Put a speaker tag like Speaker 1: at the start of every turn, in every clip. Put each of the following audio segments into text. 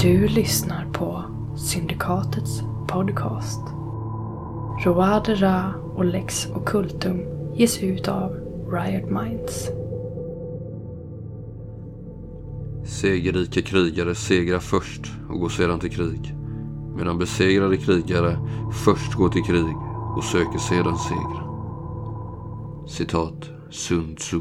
Speaker 1: Du lyssnar på Syndikatets podcast. Roade Ra och Lex Occultum ges ut av Riot Minds.
Speaker 2: Segerrika krigare segrar först och går sedan till krig. Medan besegrade krigare först går till krig och söker sedan seger. Citat Sun Tzu.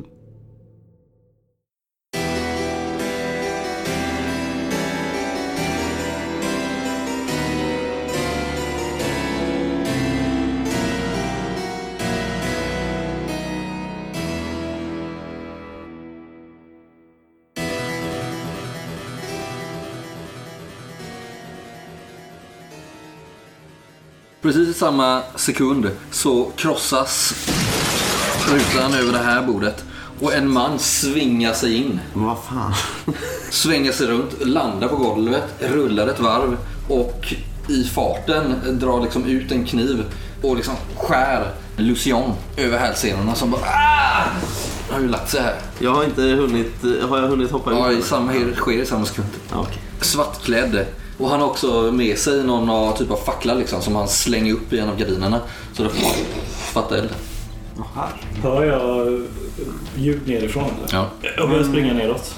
Speaker 2: Precis i samma sekund så krossas rutan över det här bordet och en man svingar sig in.
Speaker 3: Men vad fan?
Speaker 2: Svänger sig runt, landar på golvet, rullar ett varv och i farten drar liksom ut en kniv och liksom skär Lucian över hälsenorna som bara ah! Har ju lagt sig här.
Speaker 3: Jag har inte hunnit... Har jag hunnit hoppa
Speaker 2: Ja, i
Speaker 3: över?
Speaker 2: samma, sker i samma sekund.
Speaker 3: Ja, okej.
Speaker 2: svartklädd. Och han har också med sig någon av- typ av fackla liksom, som han slänger upp i en av gardinerna. Så det fattar eld.
Speaker 4: Hör jag eh, ljud nerifrån eller?
Speaker 2: Ja.
Speaker 4: Jag börjar
Speaker 5: Mm.
Speaker 4: springa neråt.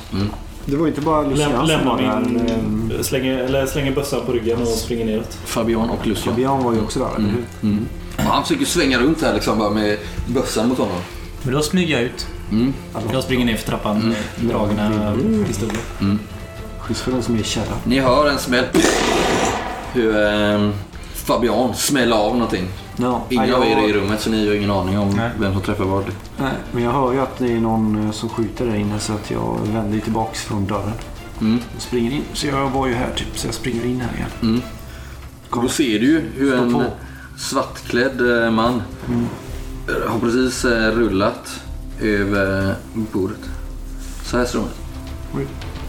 Speaker 6: Det var inte bara
Speaker 4: Läm,
Speaker 6: Lucian
Speaker 2: alltså
Speaker 6: som var
Speaker 4: lämnar
Speaker 6: där. men, eh,
Speaker 2: ehm,
Speaker 4: min... Slänger, eller slänger bössan på ryggen och springer neråt.
Speaker 2: Fabian och
Speaker 6: eh,
Speaker 2: Lucian.
Speaker 6: Björn var ju också där, eller
Speaker 5: Mm.
Speaker 6: hur?
Speaker 2: Och han försöker svänga runt här liksom, bara med bössan mot honom.
Speaker 5: Men då smyger jag ut.
Speaker 2: Mm.
Speaker 5: Jag springer ner för trappan med dragna pistoler.
Speaker 6: Schysst för den som är kärra.
Speaker 2: Ni hör en smäll. Hur ehm, Fabian smäller av någonting.
Speaker 6: Ja,
Speaker 2: Ingen
Speaker 6: jag,
Speaker 2: av er är i rummet så ni har ingen aning om
Speaker 5: Nej.
Speaker 2: vem som träffar vad.
Speaker 6: Nej, men jag hör ju att det är någon eh, som skjuter där inne så att jag vänder ju tillbaks från dörren.
Speaker 2: Mm.
Speaker 6: Jag springer in. Så jag var ju här typ, så jag springer in här igen.
Speaker 2: Och Då ser du ju hur
Speaker 6: Slå på. Mm.
Speaker 2: en svartklädd eh, man eh, har precis eh, rullat över bordet. Så här ser de ut.
Speaker 6: Oj.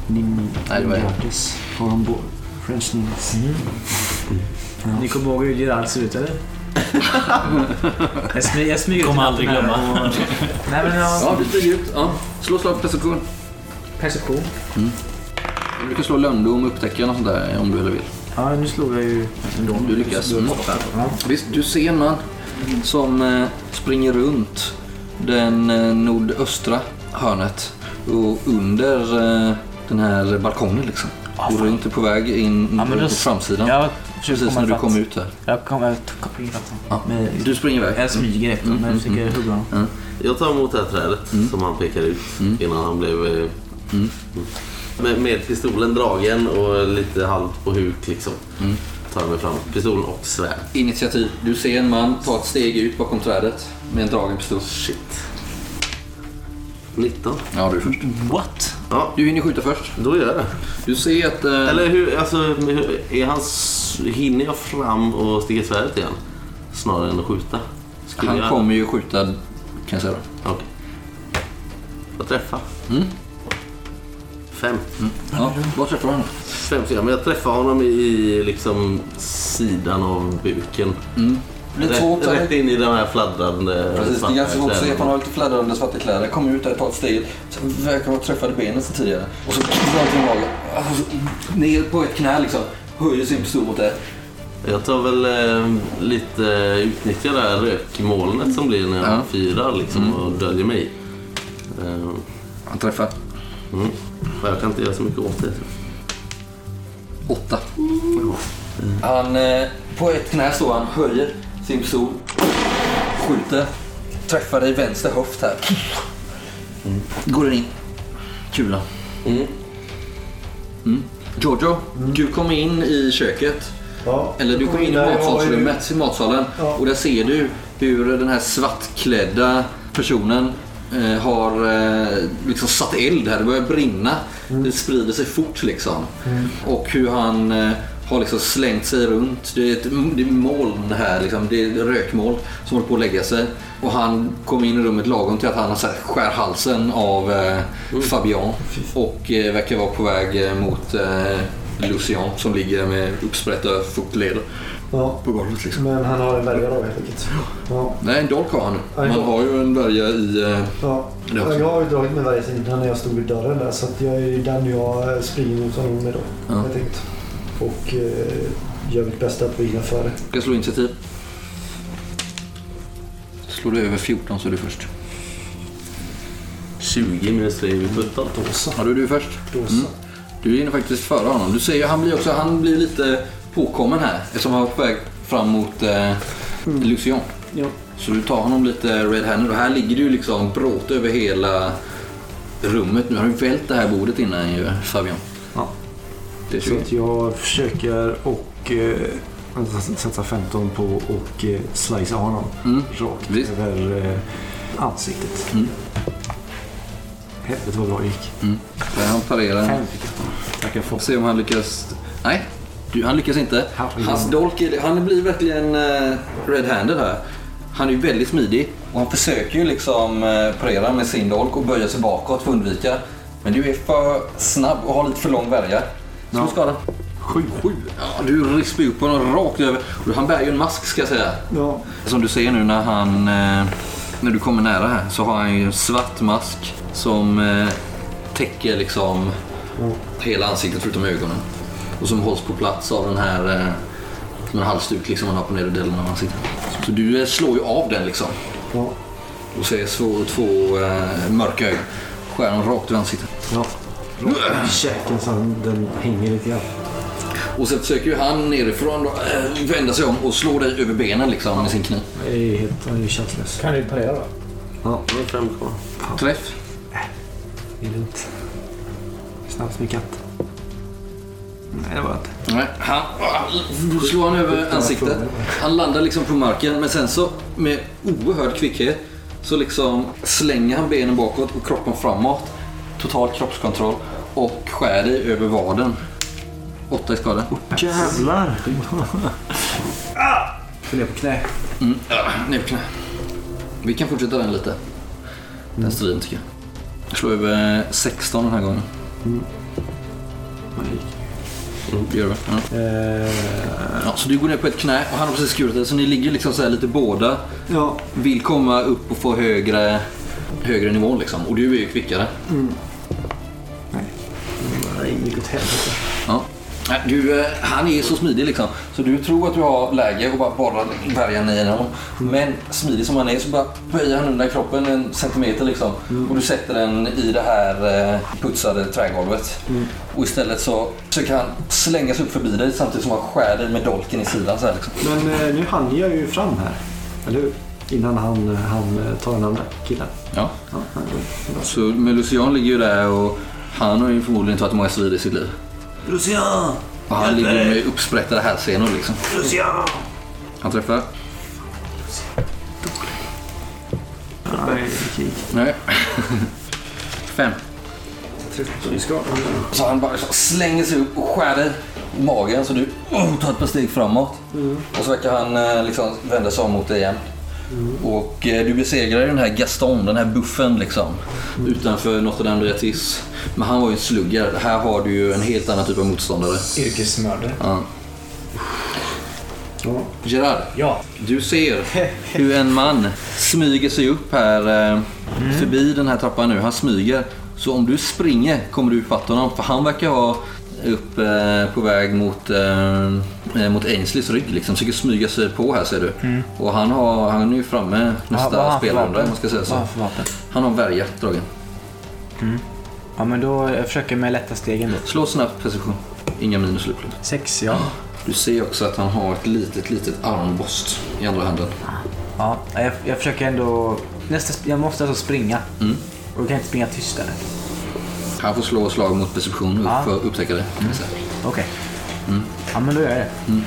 Speaker 6: Nin,
Speaker 2: Nej, det var jag.
Speaker 6: Grattis. Har de bo- French Nins?
Speaker 5: Mm.
Speaker 7: Ni kommer ihåg hur Gerard ser ut eller? jag, smy, jag smyger ut
Speaker 5: Kommer
Speaker 7: i
Speaker 5: aldrig
Speaker 7: natten här
Speaker 5: glömma.
Speaker 7: och- Nej men jag...
Speaker 2: Ja, du stiger ut. Ja. Slå slag på perception.
Speaker 7: Perception.
Speaker 2: Du kan slå lönndom, upptäcka något sånt där om du eller vill.
Speaker 7: Ja nu slog jag ju...
Speaker 2: Du lyckas.
Speaker 7: Mm.
Speaker 2: Visst, du ser en man som eh, springer runt den eh, nordöstra hörnet och under eh, den här balkongen liksom. och runt är på väg in
Speaker 7: Ja, men
Speaker 2: på
Speaker 7: då-
Speaker 2: framsidan.
Speaker 7: Jag försöker
Speaker 2: Precis
Speaker 7: komma
Speaker 2: när du
Speaker 7: ifatt.
Speaker 2: kom ut där.
Speaker 7: Jag kommer... Jag kommer in fatt honom.
Speaker 2: Ja.
Speaker 7: Men-
Speaker 2: Du Mm, springer iväg.
Speaker 7: Jag smyger efter honom. Jag försöker hugga honom.
Speaker 3: Jag tar emot det här trädet
Speaker 2: Mm.
Speaker 3: som han pekade ut innan han blev... eh, mm. Med, med pistolen dragen och lite halvt på huk liksom.
Speaker 2: Mm.
Speaker 3: Tar jag mig fram. Pistolen och svärd.
Speaker 2: Initiativ. Du ser en man ta ett steg ut bakom trädet med en dragen pistol.
Speaker 3: Shit. 19.
Speaker 2: Ja, du är först.
Speaker 7: What?
Speaker 3: Ja,
Speaker 2: Du hinner skjuta först.
Speaker 3: då gör jag det.
Speaker 2: Du ser att... Eh,
Speaker 3: Eller hur, alltså, hur- är han, s- hinner jag fram och sticka svärdet igen? Snarare än att skjuta. Skulle
Speaker 2: han
Speaker 3: jag-
Speaker 2: kommer ju skjuta, kan jag säga då.
Speaker 3: Okej. Jag träffar. Mm. Fem.
Speaker 2: Ja, vad träffar han?
Speaker 3: Fem stycken. Men jag träffar honom i liksom sidan av buken.
Speaker 2: Lite svårt.
Speaker 3: Rätt,
Speaker 2: så här.
Speaker 3: rätt in i den här fladdrande
Speaker 2: Precis, det är
Speaker 3: svarta
Speaker 2: ganska svårt att se
Speaker 3: kläderna.
Speaker 2: för han har lite fladdrande svarta kläder. Kommer ut där, tar ett steg, så verkar vara träffade benet sen tidigare. Och så drar han till magen. Alltså, Ner på ett knä liksom. Höjer sin pistol mot det.
Speaker 3: Jag tar väl eh, lite, utnyttja det här rökmolnet som blir när jag
Speaker 2: Ja.
Speaker 3: firar liksom och döljer mig. Eh,
Speaker 2: Han träffar.
Speaker 3: mm. Och jag kan inte göra så mycket åt det.
Speaker 2: Åtta. Han, eh, på ett knä står han, höjer sin pistol, skjuter, träffar dig i vänster höft här. Mm. Går den in. Kulan.
Speaker 3: Mm.
Speaker 2: Jojo, Mm. du kommer in i köket. Eller du kommer in i matsalsrummet, i matsalen. Och där ser du hur den här svartklädda personen eh, har eh, liksom satt eld här. Det börjar brinna. Det sprider sig fort liksom. Och hur han eh, har liksom slängt sig runt. Det är ett det är moln här. Liksom. Det är ett rökmoln som håller på att lägga sig. Och han kom in i rummet lagom till att han har så här skär halsen av eh, Fabian. Och eh, verkar vara på väg eh, mot eh, Lucian som ligger med uppsprätta fotleder
Speaker 8: Ja,
Speaker 2: på golvet. Liksom.
Speaker 8: men han har en värja då helt enkelt. Ja,
Speaker 2: Nej, en dolk har han.
Speaker 8: en
Speaker 2: Man
Speaker 8: dolk.
Speaker 2: har ju en värja i... eh,
Speaker 8: ja.
Speaker 2: Det också.
Speaker 8: ja jag har ju dragit mig värja sedan innan när jag stod vid dörren där så att jag är ju den jag springer mot honom med då.
Speaker 2: Ja.
Speaker 8: Helt enkelt. och eh, gör mitt bästa att vila före.
Speaker 2: Ska jag slå initiativ? Slår du över 14 så är du först.
Speaker 3: 20 minus 3 är 17.
Speaker 2: Ja, då är du först. Mm. Du är inne faktiskt före honom. Du ser ju, han blir också, han blir lite påkommen här eftersom han var på väg fram mot eh, Lucian.
Speaker 6: Ja.
Speaker 2: Så du tar honom lite red-handed och här ligger det ju liksom bråte över hela rummet. Nu har du vält det här bordet innan ju Fabian.
Speaker 6: Ja.
Speaker 2: Det är
Speaker 6: Så
Speaker 2: ju-
Speaker 6: att jag försöker och eh, s- satsa 15 på och eh, slicea honom
Speaker 2: Mm.
Speaker 6: rakt
Speaker 2: Visst.
Speaker 6: över eh, ansiktet.
Speaker 2: Mm.
Speaker 6: Helvete vad bra det gick.
Speaker 2: Så Han parerar.
Speaker 6: Fem fick jag. Tackar för
Speaker 2: Se om han lyckas. Nej, du, han lyckas inte.
Speaker 6: Han-
Speaker 2: Hans dolk är, han blir verkligen eh, red-handed här. Han är ju väldigt smidig och han försöker ju liksom eh, parera med sin dolk och böja sig bakåt för att undvika. Men du är för snabb och har lite för lång värja. Slå
Speaker 6: Ja.
Speaker 2: skada.
Speaker 6: Sju.
Speaker 2: Sju. Ja, du rispar ju upp honom rakt över. Och han bär ju en mask ska jag säga.
Speaker 6: Ja.
Speaker 2: Som du ser nu när han... Eh, när du kommer nära här så har han ju en svart mask som eh, täcker liksom hela ansiktet förutom ögonen. Och som hålls på plats av den här... Eh, som en halsduk liksom han har på nedre delen av ansiktet. Så du eh, slår ju av den liksom.
Speaker 8: Ja.
Speaker 2: Och ser två, två eh, mörka ögon. Skär honom rakt i ansiktet.
Speaker 6: Ja. I käken så han, den hänger lite grann.
Speaker 2: Och sen försöker ju han nerifrån då, eh, vända sig om och slå dig över benen liksom med sin kniv.
Speaker 6: Jag är helt, han är ju chanslös.
Speaker 4: Kan du parera då?
Speaker 3: Det är fem kvar.
Speaker 2: Träff.
Speaker 6: Det är lugnt. Snabbt som en katt. Nej, det var jag inte.
Speaker 2: Nej, han, då slår han över ansiktet. Han landar liksom på marken men sen så med oerhörd kvickhet så liksom slänger han benen bakåt och kroppen framåt. Total kroppskontroll och skär dig över vaden. Åtta i skada.
Speaker 6: Jävlar!
Speaker 7: Föll ner på knä.
Speaker 2: Ja, ner på knä. Vi kan fortsätta den lite. Den striden tycker jag. Jag slår över 16 den här gången. Det gör vi. Ja.
Speaker 6: Eh,
Speaker 2: Ja, så du går ner på ett knä och han har precis skurit dig så ni ligger liksom så här lite båda.
Speaker 6: Ja,
Speaker 2: vill komma upp och få högre, högre nivå liksom. Och du är ju kvickare.
Speaker 8: Nej, det gick åt helvete.
Speaker 2: Ja. Nej, Du, eh, han är så smidig liksom. Så du tror att du har läge och bara borrar värjan i honom. Men smidig som han är så bara böjer han undan kroppen en centimeter liksom. Och du sätter den i det här eh, putsade trägolvet. Och istället så försöker han slänga sig upp förbi dig samtidigt som han skär dig med dolken i sidan så här liksom.
Speaker 6: men eh, nu hann jag ju fram här. Eller hur? Innan han, han eh, tar den andra killen.
Speaker 2: Ja.
Speaker 6: Ja, han går. Bra.
Speaker 2: Så, men Lucian ligger ju där och han har ju förmodligen tagit många strider i sitt liv.
Speaker 3: Lucian!
Speaker 2: Och han ligger med uppsprättade hälsenor liksom.
Speaker 3: Lucian!
Speaker 2: Han träffar.
Speaker 6: Nej, det gick.
Speaker 2: Nej. Fem.
Speaker 6: Vi ska.
Speaker 2: Så han bara så slänger sig upp och skär dig i magen så du oh, tar ett par steg framåt.
Speaker 3: Mm.
Speaker 2: Och så verkar han eh, liksom vända sig om mot dig igen. Och eh, du besegrar ju den här Gaston, den här buffen liksom. Utanför Notre Dame de Retis. Men han var ju en sluggare. Här har du ju en helt annan typ av motståndare.
Speaker 7: Yrkesmördare.
Speaker 2: Ja.
Speaker 6: Ja.
Speaker 2: Gerard,
Speaker 4: Ja.
Speaker 2: du ser hur en man smyger sig upp här eh, förbi den här trappan nu. Han smyger. Så om du springer kommer du ifatt honom för han verkar vara upp eh, på väg mot, eh, eh, mot Ainsleys rygg. Liksom. Försöker smyga sig på här ser du. Och han, har, han är ju framme
Speaker 7: Mm. Vad har
Speaker 2: nästa
Speaker 7: han för
Speaker 2: spelrunda om
Speaker 7: vapen?
Speaker 2: man ska säga
Speaker 7: Vad har
Speaker 2: så.
Speaker 7: han för vapen?
Speaker 2: Han har en värja dragen.
Speaker 7: Ja, men då jag försöker jag med lätta stegen då.
Speaker 2: Slå snabbt precision. Inga minus slutligen.
Speaker 7: Sex, ja.
Speaker 2: Du ser också att han har ett litet, litet armborst i andra handen.
Speaker 7: ja jag, jag försöker ändå... Nästa, sp- jag måste alltså springa.
Speaker 2: Mm.
Speaker 7: Och då kan jag inte springa tystare.
Speaker 2: Han får slå slag mot perception upp-
Speaker 7: Ja. Mm.
Speaker 2: för att upptäcka det. kan vi säga.
Speaker 7: Okej.
Speaker 2: Mm.
Speaker 7: Ja, men då gör jag det.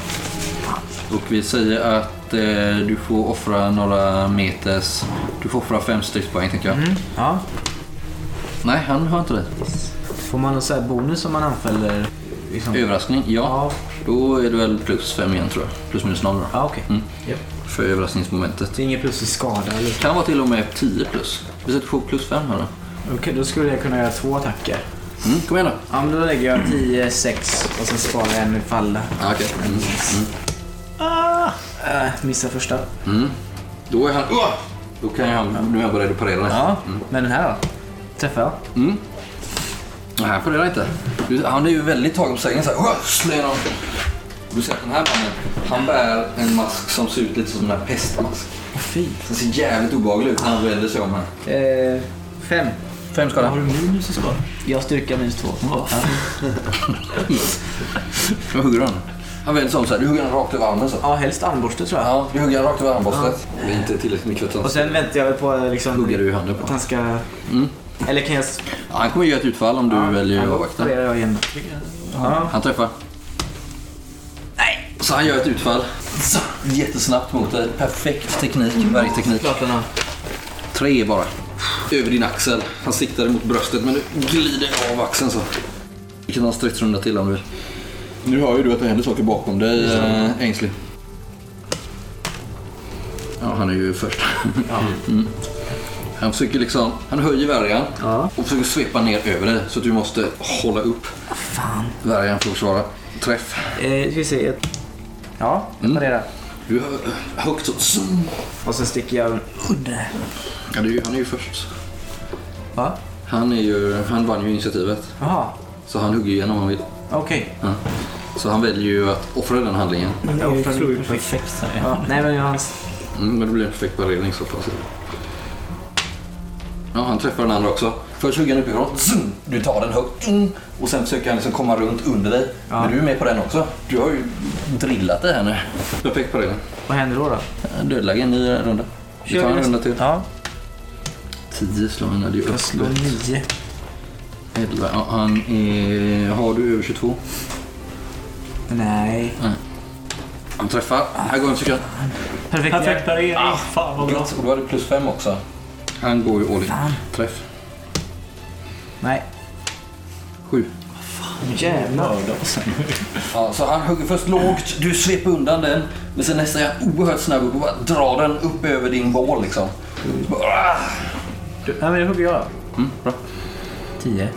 Speaker 2: Och vi säger att eh, du får offra några meters... Du får offra fem stridspoäng tänker jag.
Speaker 7: Mm. Ja.
Speaker 2: Nej, han har inte det.
Speaker 7: Får man någon sån här bonus om man anfaller? Liksom?
Speaker 2: Överraskning, ja.
Speaker 7: Ja.
Speaker 2: Då är du väl plus fem igen tror jag. Plus minus noll då.
Speaker 7: Ja, okej. Japp.
Speaker 2: För överraskningsmomentet.
Speaker 7: Det är ingen plus i skada eller?
Speaker 2: Det kan vara till och med 10 plus. Vi säger att du får plus fem här då.
Speaker 7: Okej, då skulle jag kunna göra två attacker.
Speaker 2: Mm, kom igen då.
Speaker 7: Ja, men då lägger jag 10, 6 och sen sparar jag en med falla.
Speaker 2: Ja, okej. Mm.
Speaker 7: Ah! Äh, missar första.
Speaker 2: Då är han... Åh! Då Mm. kan jag, nu är jag beredd att parera.
Speaker 7: Ja, men den här då? Träffar jag?
Speaker 2: Mm. Nej, han funderar inte. Du- Han är ju väldigt tagen på sängen så här. "Åh, Slå igenom. Du ser att den här mannen, han bär en mask som ser ut lite som en pestmask.
Speaker 7: Vad fint.
Speaker 2: Den ser jävligt obehaglig ut när han vänder sig om här.
Speaker 7: Eh, fem.
Speaker 2: Fem skada.
Speaker 5: Har du minus i skada?
Speaker 7: Jag styrka minus två.
Speaker 2: Nu hugger han. Han vänder sig om så här. Du hugger honom rakt över armen så.
Speaker 7: Ja, helst armborste tror jag.
Speaker 2: Ja, du hugger honom rakt över armbåstet. Det är inte tillräckligt mycket för
Speaker 7: Och
Speaker 2: att
Speaker 7: sen väntar jag väl på eh, liksom,
Speaker 2: han hugger du i handen på
Speaker 7: att
Speaker 2: honom.
Speaker 7: han ska... Eller kan jag... s-
Speaker 2: Ja, Han kommer ge ett utfall om du väljer att
Speaker 7: då
Speaker 2: avvakta.
Speaker 7: opererar jag igen. Ja.
Speaker 2: Han träffar. Nej! Så han gör ett utfall. Så, Mm. Jättesnabbt mot dig. Perfekt teknik, bergteknik.
Speaker 7: Klart den har.
Speaker 2: Tre bara. Över din axel. Han siktade mot bröstet men du glider av axeln så. Vi kan ha en stridsrunda till om du vill. Nu hör ju du att det händer saker bakom dig, äh, Ängslig. Ja, han är ju först. Mm. Han försöker liksom, han höjer värjan och försöker svepa ner över dig så att du måste hålla upp
Speaker 7: Fan.
Speaker 2: värjan för att försvara träff.
Speaker 7: Eh, ska vi se. ett- Ja, jag
Speaker 2: Mm.
Speaker 7: parerar.
Speaker 2: Du hör högt så. zoom.
Speaker 7: Och sen sticker jag under.
Speaker 2: Ja, det är ju, han är ju först.
Speaker 7: Va?
Speaker 2: Han, är ju, han vann ju initiativet.
Speaker 7: Jaha,
Speaker 2: Så han hugger igenom om han vill.
Speaker 7: okej.
Speaker 2: Ja. Så han väljer ju att offra den handlingen.
Speaker 7: Jag offrar
Speaker 4: slår ju
Speaker 7: min-
Speaker 5: Perfekt säger jag.
Speaker 7: Ja, nej men jag har...
Speaker 2: Mm, men det blir en perfekt parering så pass. Ja, han träffar den andra också. Först hugger han uppifrån. Zoom! Du tar den högt. Mm. Och sen försöker han liksom komma runt under dig. Men du är med på den också. Du har ju drillat det här nu. Perfekt parering.
Speaker 7: Vad händer då? då?
Speaker 2: Dödläge, en ny runda. Vi
Speaker 7: Kör
Speaker 2: tar
Speaker 7: vi
Speaker 2: en
Speaker 7: nästa-
Speaker 2: runda till.
Speaker 7: Ja,
Speaker 2: 10 slår han. hade ju
Speaker 7: jag slår
Speaker 2: öppet.
Speaker 7: nio.
Speaker 2: 11. Ja, han är... Har du över 22?
Speaker 7: Nej.
Speaker 2: Han träffar. Här går en cykel.
Speaker 7: Perfekt.
Speaker 5: Perfekt parering.
Speaker 4: Ah, fan vad bra.
Speaker 2: Grattis, och du hade plus fem också. Han går ju all in.
Speaker 7: Fan.
Speaker 2: Träff.
Speaker 7: Nej.
Speaker 2: Sju.
Speaker 7: Jävlar.
Speaker 2: Ja, så han hugger först lågt, du sveper undan den. Men sen nästa är han oerhört snabb och bara drar den upp över din bål liksom. Bara, ah!
Speaker 7: Nej men det hugger jag.
Speaker 2: Mm, bra.
Speaker 7: Tio.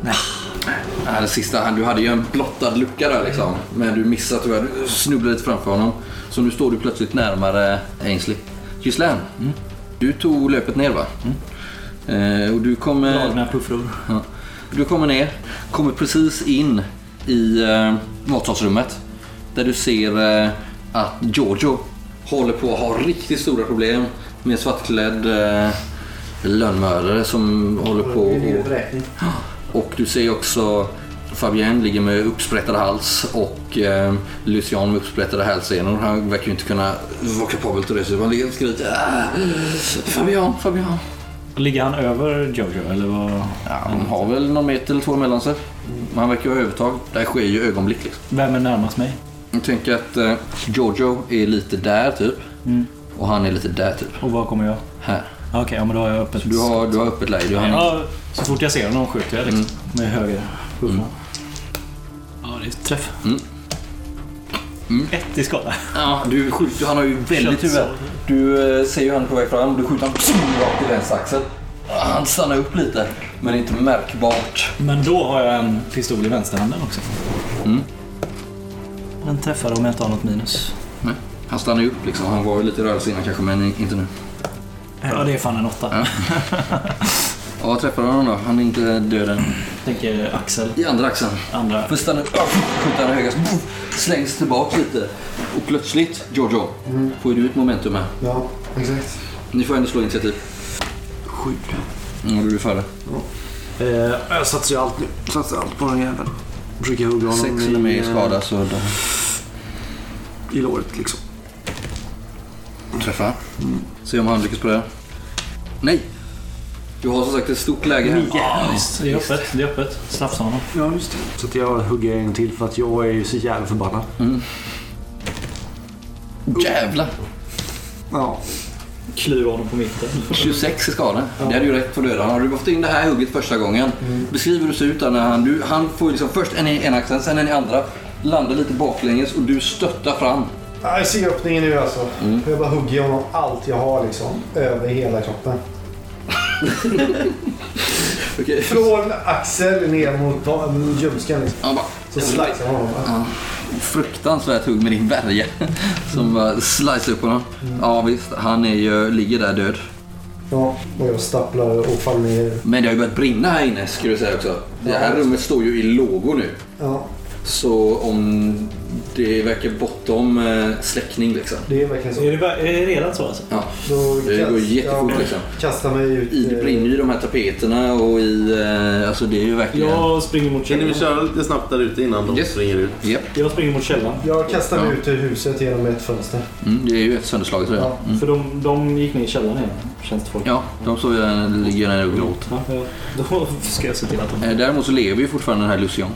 Speaker 2: Det här är sista, han- du hade ju en blottad lucka där liksom. Men du missade tyvärr, du snubblade lite framför honom. Så nu står du plötsligt närmare Ainsley. Gislaine,
Speaker 4: Mm.
Speaker 2: du tog löpet ner va? Eh, och du kommer...
Speaker 5: Lagna puffror.
Speaker 2: Ja. Du kommer ner, kommer precis in i eh, matsalsrummet där du ser eh, att Giorgio håller på att ha riktigt stora problem med en svartklädd eh, lönnmördare som håller på och, och du ser också Fabienne ligger med uppsprättad hals och eh, Lucian med uppsprättade hälsenor. Han verkar ju inte kunna vara kapabel till det så han ligger och skriker "Ah, Fabian, Fabian.
Speaker 5: Ligger han över Jojo eller vad?
Speaker 2: Ja, de har väl någon meter eller två mellan sig. Men han verkar ju ha övertag. Det här sker ju ögonblick liksom.
Speaker 5: Vem är närmast mig?
Speaker 2: Jag tänker att eh, Giorgio är lite där typ. Och han är lite där typ.
Speaker 5: Mm. Och var kommer jag?
Speaker 2: Här.
Speaker 5: Okej, ja, men då har jag öppet.
Speaker 2: Du har, du har öppet läge. Du har hand-
Speaker 5: Ja, så fort jag ser honom skjuter jag liksom. Med höger
Speaker 7: Mm.
Speaker 5: Mm. puffran. Ja, det är träff.
Speaker 2: Mm.
Speaker 5: Mm. Ett i skada.
Speaker 2: ja, du skjuter, han har ju väldigt
Speaker 5: Känns
Speaker 2: huvud. Du eh, ser ju han på väg fram. Du skjuter honom pssum, rakt i vänster axel. Ah, Han stannar upp lite. Men det är inte märkbart.
Speaker 5: Men då har jag en pistol i vänsterhanden också.
Speaker 2: Mm.
Speaker 5: Den träffar om jag inte har något minus.
Speaker 2: Nej. Han stannar ju upp liksom. Han var ju lite i rörelse innan kanske men inte nu.
Speaker 5: Ja, det är fan en åtta.
Speaker 2: Ja, vad träffar honom då? Han är inte död än.
Speaker 5: Tänker Axel,
Speaker 2: I andra axeln.
Speaker 5: andra.
Speaker 2: För stannar skjuter han högast, boff, slängs tillbaka lite. Och plötsligt, Giorgio, får ju du ett momentum här.
Speaker 8: Mm. Ja, exakt.
Speaker 2: Ni får ändå slå initiativ.
Speaker 6: Sju.
Speaker 2: Mm, du blir före.
Speaker 6: Eh, jag satsar ju allt nu. Satsar allt på den jäveln. Försöker hugga honom
Speaker 2: Sex eller mer i
Speaker 6: eh,
Speaker 2: skada så de
Speaker 6: i låret liksom.
Speaker 2: träffar.
Speaker 8: Mm.
Speaker 2: Se om han lyckas på det. Nej! Du har som sagt ett stort läge här.
Speaker 5: Ja, visst. Det är öppet. Det är öppet. Slafsa honom.
Speaker 6: Ja, just det. Så att jag hugger en till för att jag är ju så jävla förbannad.
Speaker 2: Jävlar!
Speaker 6: Ja.
Speaker 5: Klyva honom på mitten.
Speaker 2: 26 i skada. Det hade ju räckt för att döda honom. Hade du fått in det här hugget första gången. Beskriv hur det ser ut där när han... Du, han får ju liksom först en i ena axeln, sen en i andra. Landar lite baklänges och du stöttar fram.
Speaker 8: Ah, jag ser öppningen nu alltså.
Speaker 2: Mm.
Speaker 8: Jag bara hugger honom allt jag har liksom. Över hela kroppen.
Speaker 2: Okej.
Speaker 8: Från axel ner mot ba- ljumsken liksom.
Speaker 2: Han bara...
Speaker 8: Så slicear jag honom.
Speaker 2: Ja, fruktansvärt hugg med din värja som bara slice upp honom. Ja visst, han är ju, ligger där död.
Speaker 8: Ja, och jag stapplar och faller ner.
Speaker 2: Men det har ju börjat brinna här inne skulle jag säga också. Det här rummet står ju i lågor nu.
Speaker 8: Ja,
Speaker 2: Så om det verkar bortom eh, släckning liksom.
Speaker 8: det är verkligen så.
Speaker 4: Är det, bara- är det redan så alltså?
Speaker 2: Ja.
Speaker 8: Då
Speaker 2: Det går
Speaker 8: kast-
Speaker 2: jättefort,
Speaker 8: ja,
Speaker 2: liksom.
Speaker 8: Kastar mig ut.
Speaker 2: I, det
Speaker 8: eh,
Speaker 2: brinner ju i de här tapeterna och i... eh, Alltså det är ju verkligen...
Speaker 4: Jag springer mot
Speaker 3: Kan vi
Speaker 4: källan.
Speaker 3: köra lite snabbt där ute innan de
Speaker 2: Yes.
Speaker 3: springer ut?
Speaker 2: Japp,
Speaker 4: Jag springer mot källan.
Speaker 8: eh, Jag kastar mig
Speaker 2: Ja.
Speaker 8: ut ur huset genom ett fönster.
Speaker 2: mm, det är ju ett sönderslaget redan.
Speaker 8: Ja.
Speaker 5: Mm.
Speaker 4: För de, de gick ner i källaren igen, känns det folk.
Speaker 2: Ja, de såg jag ligger där och gråter.
Speaker 4: Ja, ja. Då ska jag se till att de...
Speaker 2: Eh, Däremot så lever ju fortfarande den här Lucian.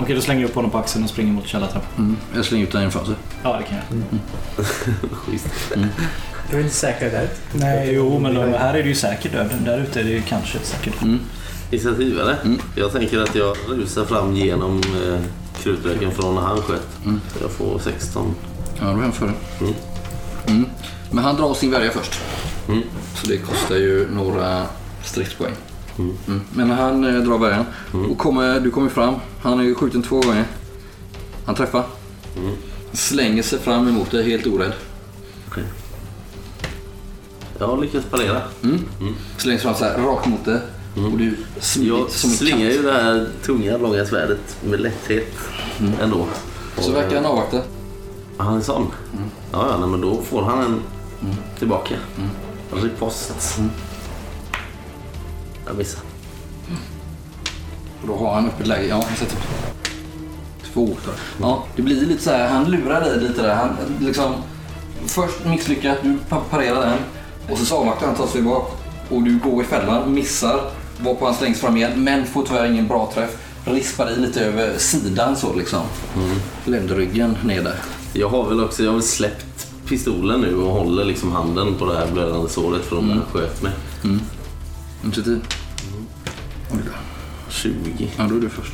Speaker 5: Okej, då slänger jag upp honom på axeln och springer mot källartrappan.
Speaker 2: Mm. Jag slänger ut den genom fönstret.
Speaker 5: Ja, det kan jag.
Speaker 6: Du är inte säker där?
Speaker 5: Nej, jo, men de, här är det ju säkert döden. Där ute är det ju kanske säkert.
Speaker 3: Initiativ eller?
Speaker 2: Mm.
Speaker 3: Jag tänker att jag rusar fram genom eh, krutröken från när han sköt.
Speaker 2: Mm.
Speaker 3: Jag får 16.
Speaker 2: Ja, då jämför det.
Speaker 3: Mm.
Speaker 2: Mm. Men han drar sin värja först.
Speaker 3: Mm.
Speaker 2: Så det kostar ju några stridspoäng.
Speaker 3: Mm.
Speaker 2: Mm. Men han eh, drar värjan. Och kommer, du kommer fram. Han är ju skjuten två gånger. Han träffar.
Speaker 3: Mm.
Speaker 2: Slänger sig fram emot dig helt orädd.
Speaker 3: Jag har lyckats parera.
Speaker 2: Mm. Slänger sig fram så här rakt mot dig.
Speaker 3: Mm.
Speaker 2: Och du smidigt
Speaker 3: Jag
Speaker 2: som en
Speaker 3: svingar
Speaker 2: katt.
Speaker 3: ju det här tunga, långa svärdet med lätthet
Speaker 2: Mm.
Speaker 3: ändå.
Speaker 2: Så
Speaker 3: Och,
Speaker 2: verkar han avvakta.
Speaker 3: eh, Han är sån?
Speaker 2: Mm.
Speaker 3: Ja, ja, nej, men då får han en tillbaka. Mm. Ripost. Jag missar.
Speaker 2: Och då har han öppet läge. Ja, han sätter upp två där. Ja, det blir lite så här. Han lurar dig lite där. Han liksom... Först misslyckas, du pa- parerar den. Och sen så avvaktar han, tar sig bak. Och du går i fällan, missar. Varpå han slängs fram igen, men får tyvärr ingen bra träff. Rispar i lite över sidan så liksom. Ländryggen ner där.
Speaker 3: Jag har väl också jag har väl släppt pistolen nu och håller liksom handen på det här blödande såret från när han
Speaker 2: Mm.
Speaker 3: sköt mig.
Speaker 2: Initiativ.
Speaker 3: 20.
Speaker 2: Ja, då är du först.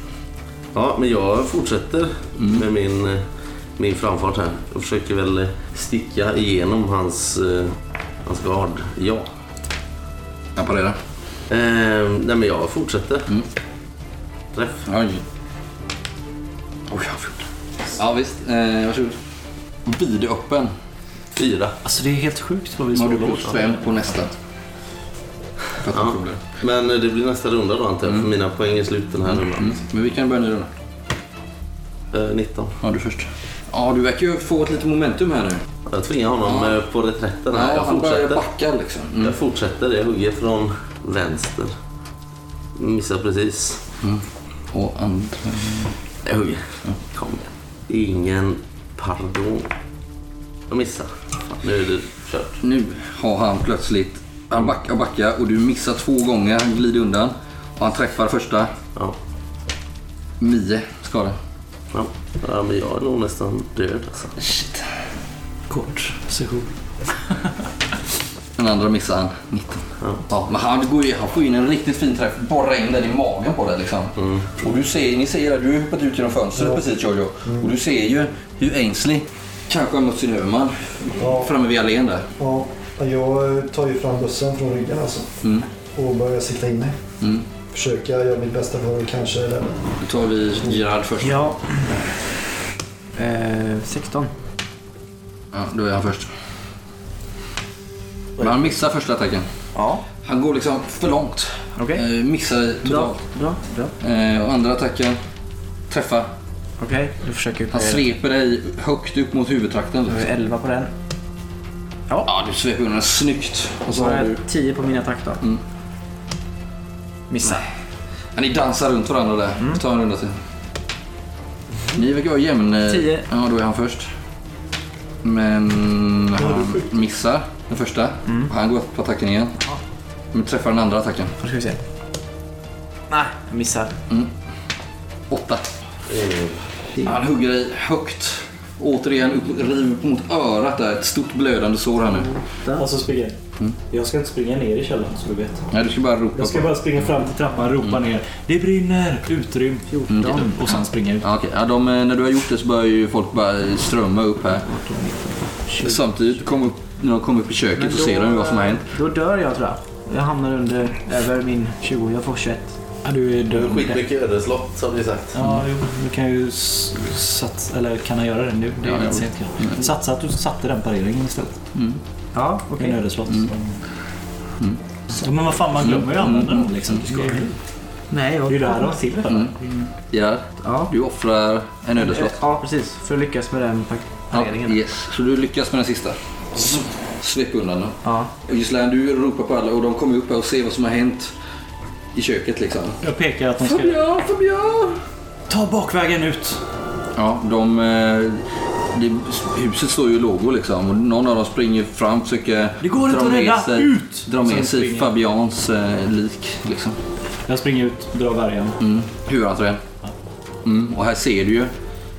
Speaker 3: Ja, men jag fortsätter
Speaker 2: Mm.
Speaker 3: med min, eh, min framfart här. Jag försöker väl eh, sticka igenom hans, eh, hans gard. Ja.
Speaker 2: Jag parerar.
Speaker 3: Eh, nej, men jag fortsätter.
Speaker 2: Mm.
Speaker 3: Träff.
Speaker 2: Oj. Oj, han fick. Ja, visst. Eh, varsågod. Vidöppen.
Speaker 3: Fyra.
Speaker 5: Alltså det är helt sjukt vad vi
Speaker 2: Nu har
Speaker 5: slår
Speaker 2: du
Speaker 5: lågt.
Speaker 2: plus fem på nästa. För att
Speaker 3: Ja.
Speaker 2: ja. problem.
Speaker 3: Men eh, det blir nästa runda då antar jag, för mina poäng är slut den här rundan.
Speaker 2: Mm. Men vi kan börja nu då.
Speaker 3: Eh, 19.
Speaker 2: Ja, du först. Ja, du verkar ju få ett litet momentum här nu.
Speaker 3: Jag tvingar honom eh, på reträtten här. jag
Speaker 2: han börjar
Speaker 3: fortsätter.
Speaker 2: backa liksom.
Speaker 3: Jag fortsätter, jag hugger från vänster. Missar precis.
Speaker 2: Och andra...
Speaker 3: Jag hugger. Kom igen. Ingen pardon. Jag missar. Fan, nu är det kört.
Speaker 2: Nu har han plötsligt... Han backar och backar och du missar två gånger. Han glider undan. Och han träffar första.
Speaker 3: Ja.
Speaker 2: Nio skada.
Speaker 3: Ja. ja, men jag är nog nästan död alltså.
Speaker 2: Shit.
Speaker 5: Kort session.
Speaker 2: Den andra missar han. 19. Ja. men han, går ju, han får in en riktigt fin träff. Borrar in den i magen på dig liksom. Och du ser, ni ser det, du har hoppat ut genom fönstret precis Jojo. Och du ser ju hur Ainsley kanske har mött sin huvudman
Speaker 8: Ja.
Speaker 2: framme vid allén där.
Speaker 8: Ja, jag tar ju fram bussen från ryggen alltså.
Speaker 2: Mm.
Speaker 8: Och börjar sikta in mig. Försöka göra mitt bästa för att kanske rädda.
Speaker 2: Då tar vi Gerard först. Ja.
Speaker 7: Ja. Eh, 16.
Speaker 2: då är han först. Men han missar första attacken.
Speaker 7: Ja,
Speaker 2: Han går liksom för långt.
Speaker 7: Okej.
Speaker 2: Eh, missar
Speaker 7: bra.
Speaker 2: totalt.
Speaker 7: Bra, bra.
Speaker 2: Eh, och andra attacken träffar.
Speaker 7: Okej, du försöker
Speaker 2: Han
Speaker 4: Eh.
Speaker 7: parera.
Speaker 2: sveper dig högt upp mot huvudtrakten.
Speaker 7: Då är
Speaker 2: Liksom.
Speaker 7: det 11 på den.
Speaker 2: Ja, du sveper undan snyggt. Och
Speaker 7: Så
Speaker 2: så
Speaker 7: har
Speaker 2: har du...
Speaker 7: jag 10 på min attack då.
Speaker 2: Mm.
Speaker 7: Missar.
Speaker 2: Ja, ni dansar runt varandra där.
Speaker 4: Mm.
Speaker 2: Ta en runda till. Ni verkar vara jämn. eh,
Speaker 7: Tio.
Speaker 2: Ja, då är han först. Men han missar den första.
Speaker 4: Mm.
Speaker 2: Han går upp på attacken igen. Men träffar den andra attacken.
Speaker 7: Då ska vi se. Nej, jag missar.
Speaker 2: Åtta.
Speaker 4: Eh.
Speaker 2: Han hugger dig högt. Återigen upp, riv upp mot örat där. Ett stort blödande sår här nu.
Speaker 4: Mm. Och så springer jag.
Speaker 5: Mm.
Speaker 4: Jag ska inte springa ner i källaren som du vet.
Speaker 2: Nej, du ska bara ropa
Speaker 4: Jag ska
Speaker 2: på.
Speaker 4: bara springa fram till trappan, ropa
Speaker 5: Mm.
Speaker 4: ner. Det brinner!
Speaker 5: Utrym. 14. Mm. Och sen springer ut.
Speaker 2: Ja, okej. ja, de, eh, när du har gjort det så börjar ju folk bara strömma upp här. Samtidigt, kom upp, när de kommer upp i köket så ser de ju vad som har
Speaker 5: eh,
Speaker 2: hänt.
Speaker 7: Då dör jag tror jag. Jag hamnar under, över min 20. Jag får 21.
Speaker 5: Ja, du är död.
Speaker 3: Skitmycket ödeslott har vi sagt.
Speaker 5: Ja, jo, du kan ju s- sats, eller kan han göra det nu? Det är
Speaker 2: Ja,
Speaker 5: ju
Speaker 2: jag
Speaker 5: lite sent
Speaker 7: Eh,
Speaker 5: kanske. Satsa att du satte den pareringen istället.
Speaker 7: Ja,
Speaker 5: En ödeslott. Ja, men vad fan, man glömmer ju att använda dem liksom.
Speaker 7: Nej, jag...
Speaker 5: Det är ju det här de har till för.
Speaker 2: Ja,
Speaker 7: Ja. Eh,
Speaker 2: du offrar en ödeslott.
Speaker 7: ja, precis. För att lyckas med den pak-
Speaker 2: Ja,
Speaker 7: pareringen. Ja.
Speaker 2: yes. Så du lyckas med den sista.
Speaker 5: Mm.
Speaker 2: Svep undan den.
Speaker 7: Ja.
Speaker 2: Gislaine, du ropar på alla och de kommer upp här och ser vad som har hänt i köket liksom.
Speaker 5: Jag pekar att de ska...
Speaker 2: Ja, Fabian!
Speaker 5: Ta bakvägen ut!
Speaker 2: Ja, de... eh, Det, huset står ju i lågor liksom och någon av dem springer fram och försöker
Speaker 5: Det går inte
Speaker 2: dra
Speaker 5: att
Speaker 2: med
Speaker 5: rädda.
Speaker 2: sig,
Speaker 5: Ut!
Speaker 2: Dra med
Speaker 5: Sen
Speaker 2: sig
Speaker 5: springer.
Speaker 2: Fabians eh, lik liksom.
Speaker 5: Jag springer ut, drar värjan.
Speaker 2: Mm. Huvudentrén. Mm. Och här ser du ju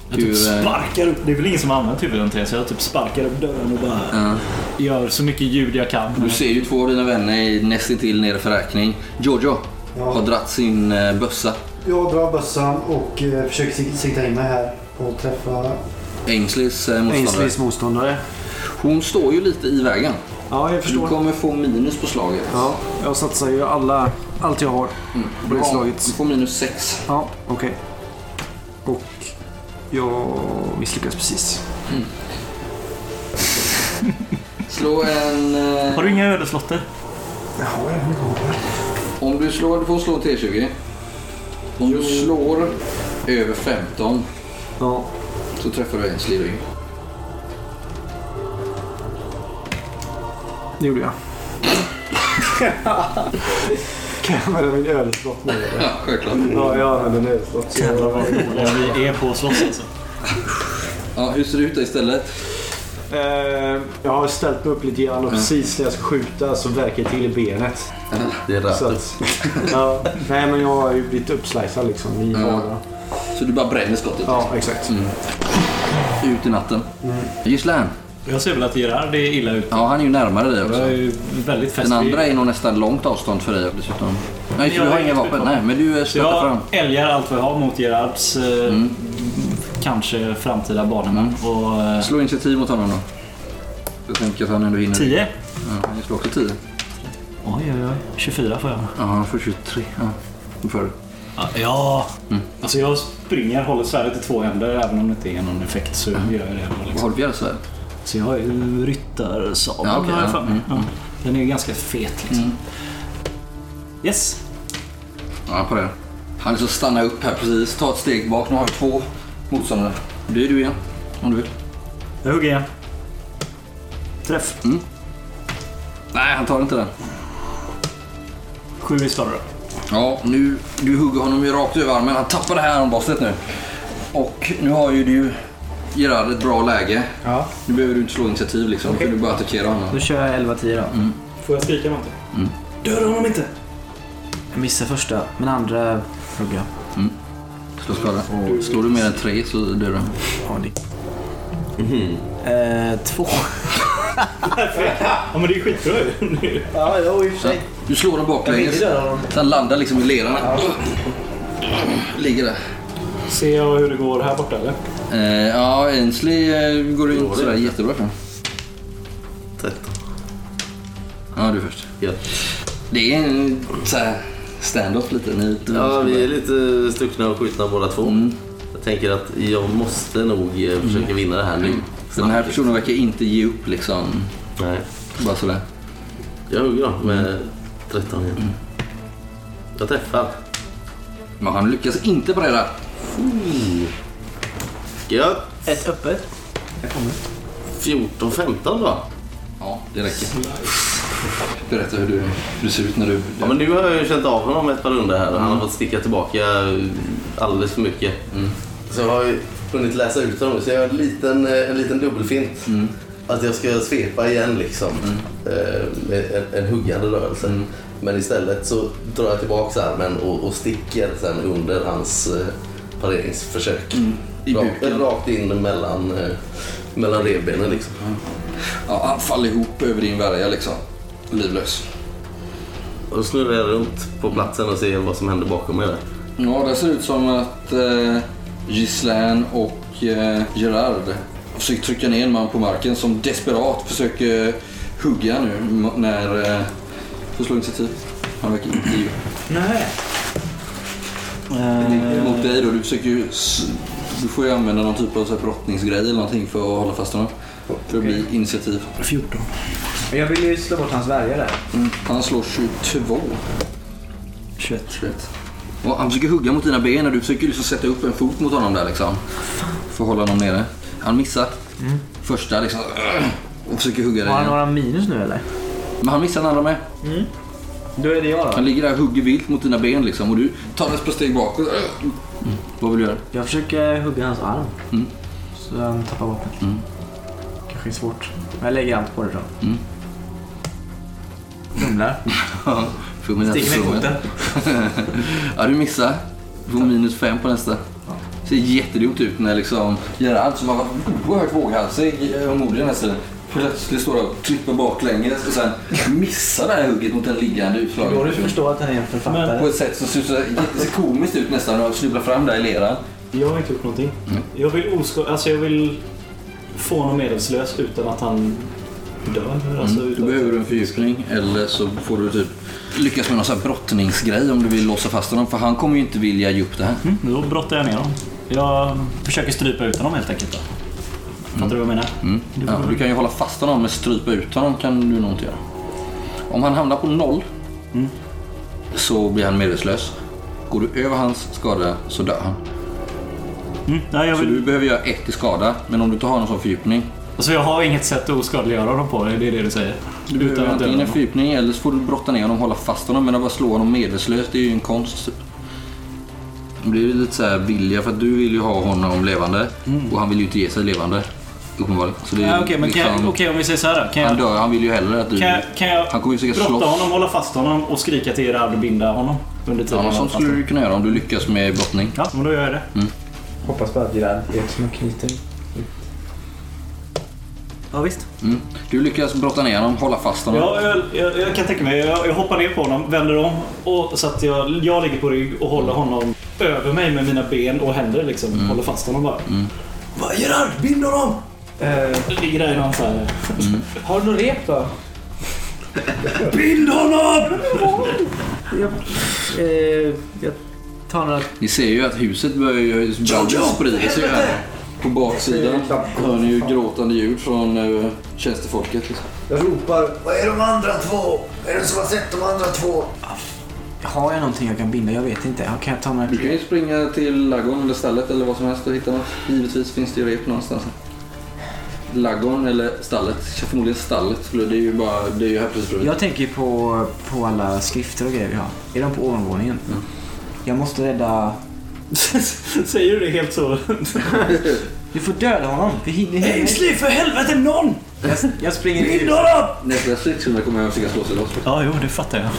Speaker 5: Jag typ
Speaker 2: hur... eh,
Speaker 5: sparkar upp. Det är väl ingen som har använt huvudentrén så jag typ sparkar upp dörren och bara
Speaker 2: ja.
Speaker 5: gör så mycket ljud jag kan.
Speaker 2: Du ser ju två av dina vänner är nästintill nere för räkning. Giorgio
Speaker 8: Ja.
Speaker 2: har dratt sin eh, bössa.
Speaker 8: Jag drar bössan och eh, försöker sik- sikta in mig här och träffa...
Speaker 2: Aisleys eh, motståndare.
Speaker 7: Ainsleys motståndare.
Speaker 2: Hon står ju lite i vägen.
Speaker 7: Ja, jag
Speaker 2: Du
Speaker 7: förstår.
Speaker 2: kommer få minus på slaget.
Speaker 7: Ja, jag satsar ju alla, allt jag har på det
Speaker 2: Mm. Du
Speaker 7: slaget.
Speaker 2: får minus sex.
Speaker 7: Ja, okej. Och jag misslyckas precis.
Speaker 2: Slå en... eh,
Speaker 5: Har du inga ödeslotter?
Speaker 8: Jag har en gåva.
Speaker 2: Om du slår, du får slå en T20. Om du slår över 15
Speaker 7: Ja,
Speaker 2: så träffar du Ainsley i ryggen.
Speaker 7: det gjorde jag.
Speaker 8: Kan jag använda min ödeslott nu? eller?
Speaker 2: Ja, självklart.
Speaker 8: Ja, jag använder min ödeslott. Så-
Speaker 5: Ja, vi är på att slåss alltså.
Speaker 2: Ja, hur ser det ut då istället?
Speaker 8: Eh, Jag har ställt mig upp lite grann och precis när jag ska skjuta så verkar det till i benet.
Speaker 3: Det är
Speaker 8: Så
Speaker 3: rätt.
Speaker 8: att, ja, nej men jag har ju blivit uppslicead liksom i
Speaker 2: Ja.
Speaker 8: vardagen.
Speaker 2: Så du bara bränner skottet?
Speaker 8: Ja, exakt.
Speaker 2: Ut i natten.
Speaker 7: Mm.
Speaker 2: Gislaine.
Speaker 5: Jag ser väl att Gerard är illa ute.
Speaker 2: Ja, han är ju närmare dig
Speaker 5: Jag är
Speaker 2: också.
Speaker 5: ju väldigt fäst
Speaker 2: Den andra
Speaker 5: vid...
Speaker 2: är nog nästan långt avstånd för dig dessutom. Nej, så
Speaker 5: jag
Speaker 2: du har
Speaker 5: har
Speaker 2: inga
Speaker 5: inget
Speaker 2: vapen.
Speaker 5: vapen.
Speaker 2: Nej, men du eh,
Speaker 5: Så
Speaker 2: stöter
Speaker 5: jag
Speaker 2: fram.
Speaker 5: älgar allt vad jag har mot Gerards eh,
Speaker 2: Mm.
Speaker 5: kanske framtida barnamän. Och... Eh,
Speaker 2: Slå initiativ mot honom då. Jag tänker att han ändå hinner.
Speaker 5: 10?
Speaker 2: Ja, han slår också 10.
Speaker 5: Oj, oj, oj. 24 får jag.
Speaker 2: Ja, han får 23. Ja, då får du.
Speaker 5: Ja, Ja!
Speaker 2: Mm.
Speaker 5: Alltså jag springer, håller svärdet i två händer även om det inte är någon effekt så
Speaker 2: Mm.
Speaker 5: gör jag det ändå.
Speaker 2: Vad
Speaker 5: Liksom.
Speaker 2: har du för jävla
Speaker 5: Så jag har ju ryttarsabel
Speaker 2: Ja, okej,
Speaker 5: har
Speaker 2: ja,
Speaker 5: jag
Speaker 2: Mm,
Speaker 5: för mig. Ja. Den är ju ganska fet liksom. Yes!
Speaker 2: Ja, på det. Han är så stanna upp här precis. Ta ett steg bak. Nu har vi två motståndare. Det är du igen. Om du vill.
Speaker 5: Jag hugger igen. Träff.
Speaker 2: Mm. Nej, han tar inte den.
Speaker 5: Sju i skador.
Speaker 2: Ja, nu, du hugger honom ju rakt över armen. Han tappar det här armbastet nu. Och nu har ju du Gerard ett bra läge.
Speaker 8: Ja.
Speaker 2: Nu behöver du inte slå initiativ liksom. Okay. Du bara attackera honom.
Speaker 7: Då kör jag 11-10 då.
Speaker 2: Mm.
Speaker 5: Får jag skrika någonting? Döda honom inte!
Speaker 7: Jag missar första, men andra hugger jag.
Speaker 2: Slå skada. Slår du mer än tre så dör du.
Speaker 7: Ja, det- Eh, två.
Speaker 5: Ja men det är skitbra ju.
Speaker 7: Ja, jo, i och för
Speaker 2: Så, du slår den baklänges. Så han landar liksom i leran. Ligger där.
Speaker 5: Ser jag hur det går här borta eller?
Speaker 2: Eh, ja, Ainsley eh, går det inte sådär jättebra för.
Speaker 3: Tretton.
Speaker 2: Ja, du först.
Speaker 3: Gött.
Speaker 2: Det är en eh, så här stand-off lite. Ni,
Speaker 3: Ja, vi är lite stuckna och skjutna båda två. Jag tänker att jag måste nog eh, försöka vinna det här nu.
Speaker 2: Den här
Speaker 3: Snabbt.
Speaker 2: personen verkar inte ge upp liksom.
Speaker 3: Nej.
Speaker 2: Bara sådär.
Speaker 3: Jag hugger då med 13 igen. Jag träffar.
Speaker 2: Men han lyckas inte bredda.
Speaker 3: Gött.
Speaker 7: Ett öppet.
Speaker 3: 14, 15 då.
Speaker 2: Ja, det räcker. Berätta hur du, hur du ser ut när du...
Speaker 3: Ja, men nu har jag ju känt av honom ett par runder här. Han har fått sticka tillbaka alldeles för mycket. Så jag har ju hunnit läsa ut honom. Så jag har en liten, eh, en liten dubbelfint. Att jag ska svepa igen liksom. Eh, med en, en huggande rörelse. Men istället så drar jag tillbaka armen och, och sticker sen under hans eh, pareringsförsök.
Speaker 2: I
Speaker 3: Rakt-
Speaker 2: buken.
Speaker 3: Rakt in mellan, eh, mellan revbenen liksom.
Speaker 2: Ja, han faller ihop över din värja liksom. Livlös.
Speaker 3: Och då snurrar jag runt på platsen och ser vad som händer bakom mig där.
Speaker 2: Ja, det ser ut som att eh, Gislaine och eh, Gerard har försökt trycka ner en man på marken som desperat försöker hugga nu m- när... Eh, får slå initiativ. Han verkar inte ge upp.
Speaker 5: Nej.
Speaker 7: Eh,
Speaker 3: Eh.
Speaker 2: Mot dig då, du försöker ju... s- Du får ju använda någon typ av så här brottningsgrej eller någonting för att hålla fast honom. För att bli initiativ.
Speaker 5: 14.
Speaker 7: Jag vill ju slå bort hans värja där.
Speaker 2: Han slår 22. 21. 21. Och han försöker hugga mot dina ben och du försöker liksom sätta upp en fot mot honom där liksom. För att hålla honom nere. Han missar. Första liksom. Och försöker hugga dig
Speaker 7: Har han
Speaker 2: igen.
Speaker 7: några minus nu eller?
Speaker 2: Men han missar den andra med.
Speaker 7: Då är det jag då.
Speaker 2: Han ligger där och hugger vilt mot dina ben liksom. Och du tar ett par steg bakåt. Vad vill du göra?
Speaker 7: Jag försöker hugga hans arm. Så han tappar vapnet. Kanske är svårt. Men jag lägger allt på det då. Fumlar.
Speaker 2: Fummen äter
Speaker 7: Sticker med
Speaker 2: fummen. ja, du missar. Du får minus fem på nästa. Ser jättedumt ut när liksom Gerard som har varit oerhört våghalsig eh, och modig den här tiden plötsligt står och klipper baklänges och sen missar det här hugget mot en liggande
Speaker 7: Det går du
Speaker 2: utslagen person.
Speaker 7: förstå att han är en
Speaker 2: På
Speaker 7: författare.
Speaker 2: ett sätt som ser så jättekomiskt ut nästan och snubblar fram där i leran.
Speaker 4: Jag har inte gjort någonting.
Speaker 2: Mm.
Speaker 4: Jag vill osko... Alltså jag vill få honom medvetslös utan att han dör. Alltså,
Speaker 2: Då
Speaker 4: utan...
Speaker 2: behöver Mm. du en fördjupning eller så får du typ lyckas med någon sån här brottningsgrej om du vill låsa fast honom för han kommer ju inte vilja ge upp det här.
Speaker 5: Mm, då brottar jag ner dem. Jag försöker strypa ut honom helt enkelt. Då. Fattar du vad jag menar?
Speaker 2: Mm. Ja, du kan ju hålla fast honom men strypa ut honom kan du nog inte göra. Om han hamnar på noll
Speaker 5: Mm.
Speaker 2: så blir han medvetslös. Går du över hans skada så dör han.
Speaker 5: Mm, nej, jag,
Speaker 2: Så
Speaker 5: vill...
Speaker 2: du behöver göra ett i skada men om du tar honom som fördjupning.
Speaker 5: alltså, jag har inget sätt att oskadliggöra dem på, det är det du säger.
Speaker 2: Du behöver
Speaker 5: att döda
Speaker 2: antingen en
Speaker 5: honom.
Speaker 2: fördjupning eller så får du brotta ner honom och hålla fast honom. Men att bara slå honom medvetslös det är ju en konst. Typ. Det blir ju lite så här vilja för att du vill ju ha honom levande och han vill ju inte ge sig levande. Uppenbarligen. Så det är
Speaker 5: Ja, Mm. Okej, men kan jag-
Speaker 2: liksom-
Speaker 5: okej, om vi säger så här då. Kan
Speaker 2: Han
Speaker 5: jag,
Speaker 2: dör, han vill ju hellre att du...
Speaker 5: kan jag, kan jag
Speaker 2: han kommer ju försöka
Speaker 5: brotta
Speaker 2: slåss.
Speaker 5: honom, hålla fast honom och skrika till Gerard och binda honom under tiden?
Speaker 2: Ja, något
Speaker 5: han
Speaker 2: sånt
Speaker 5: fast-
Speaker 2: skulle du kunna göra om du lyckas med brottning.
Speaker 5: Ja, men då gör jag det.
Speaker 6: Hoppas bara att Gerard är som en knyter.
Speaker 7: Ja visst.
Speaker 2: Mm. Du lyckas brotta ner honom, hålla fast honom.
Speaker 4: Ja, jag, jag, jag kan tänka mig. Jag, jag hoppar ner på honom, vänder om och, så att jag, jag ligger på rygg och håller honom över mig med mina ben och händer. Liksom. Håller fast honom bara. Mm. Bara Gerard, bind honom! Eh, ligger där i någon så här...
Speaker 6: Har du något rep då?
Speaker 4: Bind honom!
Speaker 7: Jag, eh, jag tar några...
Speaker 2: Ni ser ju att huset börjar ju... Branden sprider sig här. På baksidan hör ni ju gråtande ljud från uh, tjänstefolket. Liksom.
Speaker 8: Jag ropar, vad är de andra två? Är det någon som har sett de andra två?
Speaker 7: Har jag någonting jag kan binda? Jag vet inte. Kan jag ta några...
Speaker 2: Du kan ju springa till laggården eller stallet eller vad som helst och hitta något. Givetvis finns det ju rep någonstans. Laggården eller stallet. Förmodligen stallet. skulle- Det är ju, bara, det är ju här precis bredvid.
Speaker 7: Jag tänker på, på alla skrifter och grejer vi har. Är de på ovanvåningen? Jag måste rädda...
Speaker 4: Säger du det helt så?
Speaker 7: Du får döda honom! Vi hinner hinner-
Speaker 4: Ainsley, för helvete någon!
Speaker 7: Jag, jag springer in i
Speaker 4: Bind
Speaker 7: huset.
Speaker 4: honom!
Speaker 2: Nästa stridsrunda kommer jag försöka slå sig loss.
Speaker 5: Ja, jo, det fattar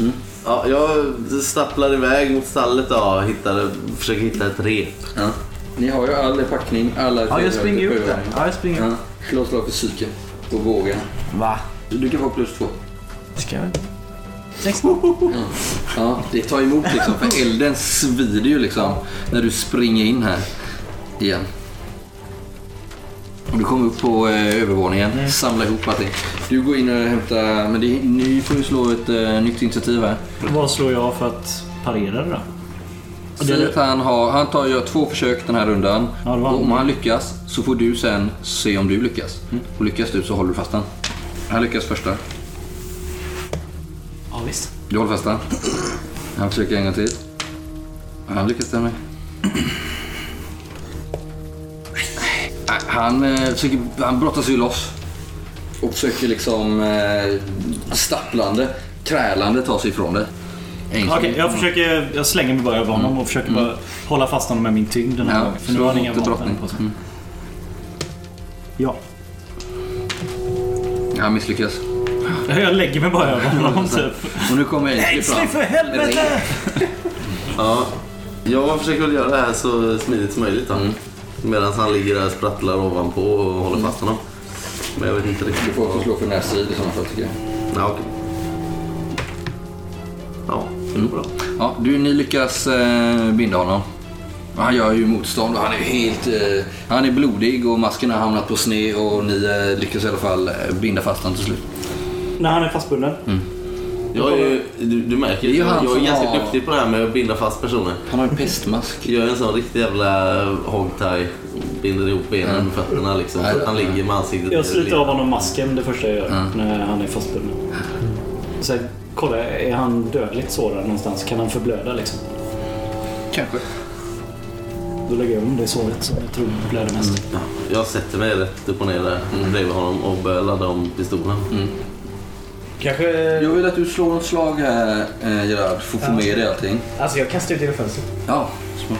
Speaker 5: jag.
Speaker 3: Ja, jag stapplar iväg mot stallet då och hittar, försöker hitta ett rep.
Speaker 2: Ja. Ni har ju all er packning, alla
Speaker 7: Ja, jag springer
Speaker 2: upp
Speaker 7: ut där. Ja, jag springer
Speaker 2: Ja, slå ett slag för psyke och våga.
Speaker 7: Va?
Speaker 2: Du kan få plus två.
Speaker 7: Ska jag...
Speaker 2: Ja, det tar emot liksom för elden svider ju liksom när du springer in här igen. Och du kommer upp på eh, övervåningen, samlar ihop allting. Du går in och hämtar, men det, ni får ju slå ett eh, nytt initiativ här.
Speaker 5: Vad slår jag för att parera det då?
Speaker 2: Säg att han, har, han tar, gör två försök den här rundan.
Speaker 5: Ja, det var
Speaker 2: och om
Speaker 5: han. Mm.
Speaker 2: han lyckas så får du sen se om du lyckas. Och lyckas du så håller du fast han. Han lyckas första.
Speaker 5: Ja, visst.
Speaker 2: Du håller fast han. Han försöker en gång till. Han lyckas det med. Nej, Han, eh, försöker, han brottas ju loss. Och försöker liksom eh, stapplande, krälande ta sig ifrån det. En gång.
Speaker 5: Okej, jag försöker... Jag slänger mig bara över honom och försöker bara hålla fast honom med min tyngd den här
Speaker 2: Mm. Ja,
Speaker 5: gången. För nu
Speaker 2: slå
Speaker 5: har han
Speaker 2: mot
Speaker 5: inga
Speaker 2: det brottning.
Speaker 5: vapen på sig.
Speaker 2: Mm.
Speaker 5: Ja.
Speaker 2: Han misslyckas.
Speaker 5: Jag lägger mig bara över
Speaker 2: Mm.
Speaker 5: honom typ.
Speaker 2: Och nu kommer Ainsley fram.
Speaker 5: för helvete!
Speaker 3: Ja, jag försöker väl göra det här så smidigt som möjligt då. Medan han ligger där och sprattlar ovanpå och håller fast honom. Men jag vet inte
Speaker 2: Du
Speaker 3: riktigt.
Speaker 2: får också slå för närstrid i sådana fall tycker jag.
Speaker 3: Ja, okej. Ja, det går bra.
Speaker 2: Ja, du, ni lyckas eh, binda honom. Och Han gör ju motstånd och han är helt... Eh, han är blodig och masken har hamnat på sne och ni eh, lyckas i alla fall eh, binda fast honom till slut.
Speaker 4: När han är fastbunden.
Speaker 2: Mm.
Speaker 3: Jag är ju, du, du märker,
Speaker 2: Det är
Speaker 3: ju,
Speaker 2: ju han
Speaker 3: jag är
Speaker 2: som
Speaker 3: ganska
Speaker 2: har-
Speaker 3: duktig på det här med att binda fast personer.
Speaker 2: Han har en pestmask.
Speaker 3: Jag är en sån riktig jävla hogtie binder ihop benen med fötterna liksom. Så att han ligger med ansiktet
Speaker 4: Jag sliter av honom masken det första jag gör
Speaker 2: Mm.
Speaker 4: när han är fastbunden. Sen kollar jag, är han dödligt sårad någonstans? Kan han förblöda liksom?
Speaker 5: Kanske.
Speaker 4: Då lägger jag om det såret som jag tror blöder mest.
Speaker 3: Ja, Jag sätter mig rätt upp och ner där bredvid honom och börjar ladda om pistolen.
Speaker 9: Kanske...
Speaker 2: Eh, Jag vill att du slår ett slag här eh, Gerard, för att få med dig allting.
Speaker 9: Alltså jag kastar ut genom fönstret.
Speaker 2: Ja, smart.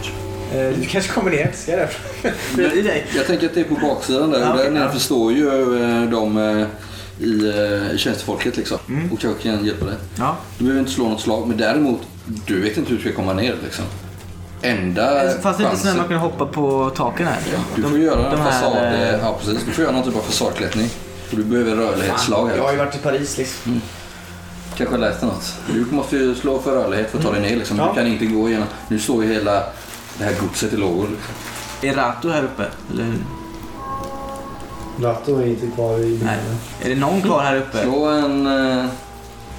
Speaker 9: Eh, Du kanske kommer ner, ser jag det? Bredvid dig.
Speaker 2: Jag tänker att det är på baksidan där och där nere förstår ju eh, de eh, i eh, tjänstefolket liksom.
Speaker 5: Mm.
Speaker 2: Och kanske kan hjälpa dig.
Speaker 7: Ja.
Speaker 2: Du behöver inte slå något slag men däremot, du vet inte hur du ska komma ner liksom. Enda
Speaker 7: Eh, Fast det är inte så när
Speaker 2: chansen-
Speaker 7: man kan hoppa på taken här.
Speaker 2: Eh, Du får göra en
Speaker 7: de här,
Speaker 2: fasad...
Speaker 7: eh,
Speaker 2: Ja, precis. Du får göra någon typ av fasadklättring. Och du behöver rörlighetsslag här.
Speaker 9: Jag har ju varit i Paris liksom.
Speaker 2: Kanske läste något. Du måste ju slå för rörlighet för att ta
Speaker 7: Mm.
Speaker 2: dig ner liksom.
Speaker 9: Ja.
Speaker 2: Du kan inte gå igenom. Nu står ju hela det här godset i lågor. liksom.
Speaker 7: Mm. Är Rato här uppe? Eller hur?
Speaker 8: Ratto är inte kvar i
Speaker 7: Nej.
Speaker 8: bilen.
Speaker 7: Är det någon kvar här uppe?
Speaker 2: Slå en... Eh,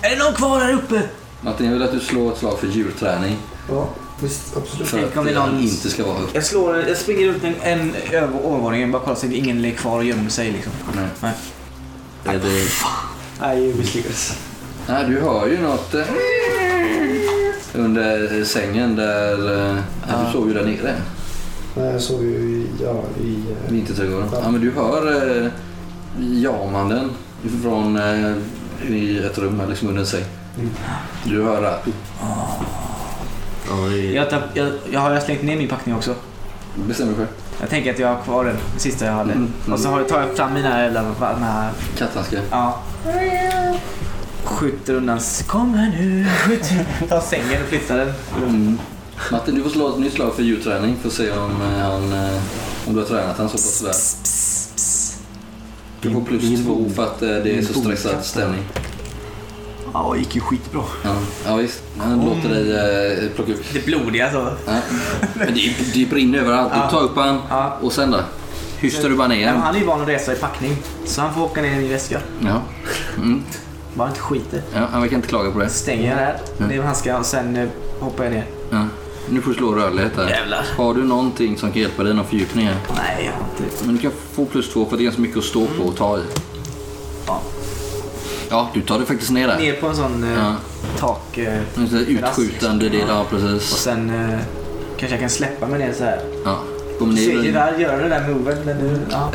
Speaker 7: Är det någon kvar här uppe?
Speaker 2: Martin, jag vill att du slår ett slag för djurträning.
Speaker 8: Ja, visst. Absolut.
Speaker 2: För
Speaker 7: Tänk
Speaker 2: att
Speaker 7: om det är
Speaker 2: eh,
Speaker 7: någon-
Speaker 2: inte ska vara upp.
Speaker 7: Jag, slår, jag springer upp en, en över övervåningen bara kollar så att ingen är kvar och gömmer sig. Liksom.
Speaker 2: Nej.
Speaker 3: Är det...
Speaker 7: Nej, jag misslyckades.
Speaker 2: Nej, du hör ju något... Eh, under sängen där... Eh, ja. Du sov ju där nere.
Speaker 8: Nej, jag såg ju i... Ja, i eh,
Speaker 2: Vinterträdgården. Ja, men du hör eh, jamanden från eh, i ett rum här liksom under sig. Du hör det.
Speaker 3: Ja, det är-
Speaker 7: Jag, tapp, jag, jag har jag slängt ner min packning också.
Speaker 2: Bestämmer dig själv.
Speaker 7: Jag tänker att jag har kvar den sista jag hade.
Speaker 2: Mm.
Speaker 7: Och så har jag, tar jag fram mina jävla... de här-
Speaker 2: Katthandskar.
Speaker 7: Ja. Skjuter undan. s- Kom här nu. Skjut. Tar sängen och flyttar den.
Speaker 2: Martin, du får slå ett nytt slag för djurträning för att se om, eh, han, eh, om du har tränat han så pass väl. Du får plus två för att eh, det är så stressad stämning.
Speaker 5: Ja, det gick ju skitbra.
Speaker 2: Ja, ja visst. Han låter dig eh, plocka upp.
Speaker 7: Det blodiga alltså. så.
Speaker 2: Ja. Men det, det brinner överallt. Du tar upp han
Speaker 7: Ja.
Speaker 2: och sen då? Hystar du bara ner
Speaker 7: Men
Speaker 2: han?
Speaker 7: han är ju van att resa i packning. Så han får åka ner i min väska.
Speaker 2: Ja. Mm.
Speaker 7: Bara inte skiter.
Speaker 2: ja, han verkar inte klaga på det.
Speaker 7: Stänger jag där. Det är vad han ska och sen eh, hoppar jag ner.
Speaker 2: Ja. Nu får du slå rörlighet här.
Speaker 7: Jävlar.
Speaker 2: Har du någonting som kan hjälpa dig, någon fördjupning här?
Speaker 7: Nej, jag har inte.
Speaker 2: Men du kan få plus två för det är ganska mycket att stå på och ta i.
Speaker 7: Ja.
Speaker 2: Ja, du tar det faktiskt ner där.
Speaker 7: Ner på en sån eh,
Speaker 2: Ja.
Speaker 7: tak. Eh,
Speaker 2: En sån här Utskjutande del, ja
Speaker 7: och
Speaker 2: precis.
Speaker 7: sen eh, kanske jag kan släppa mig ner så här.
Speaker 2: Ja. Kommer
Speaker 7: Ser
Speaker 2: ner.
Speaker 7: Gerard göra den där moven. Men nu, ja.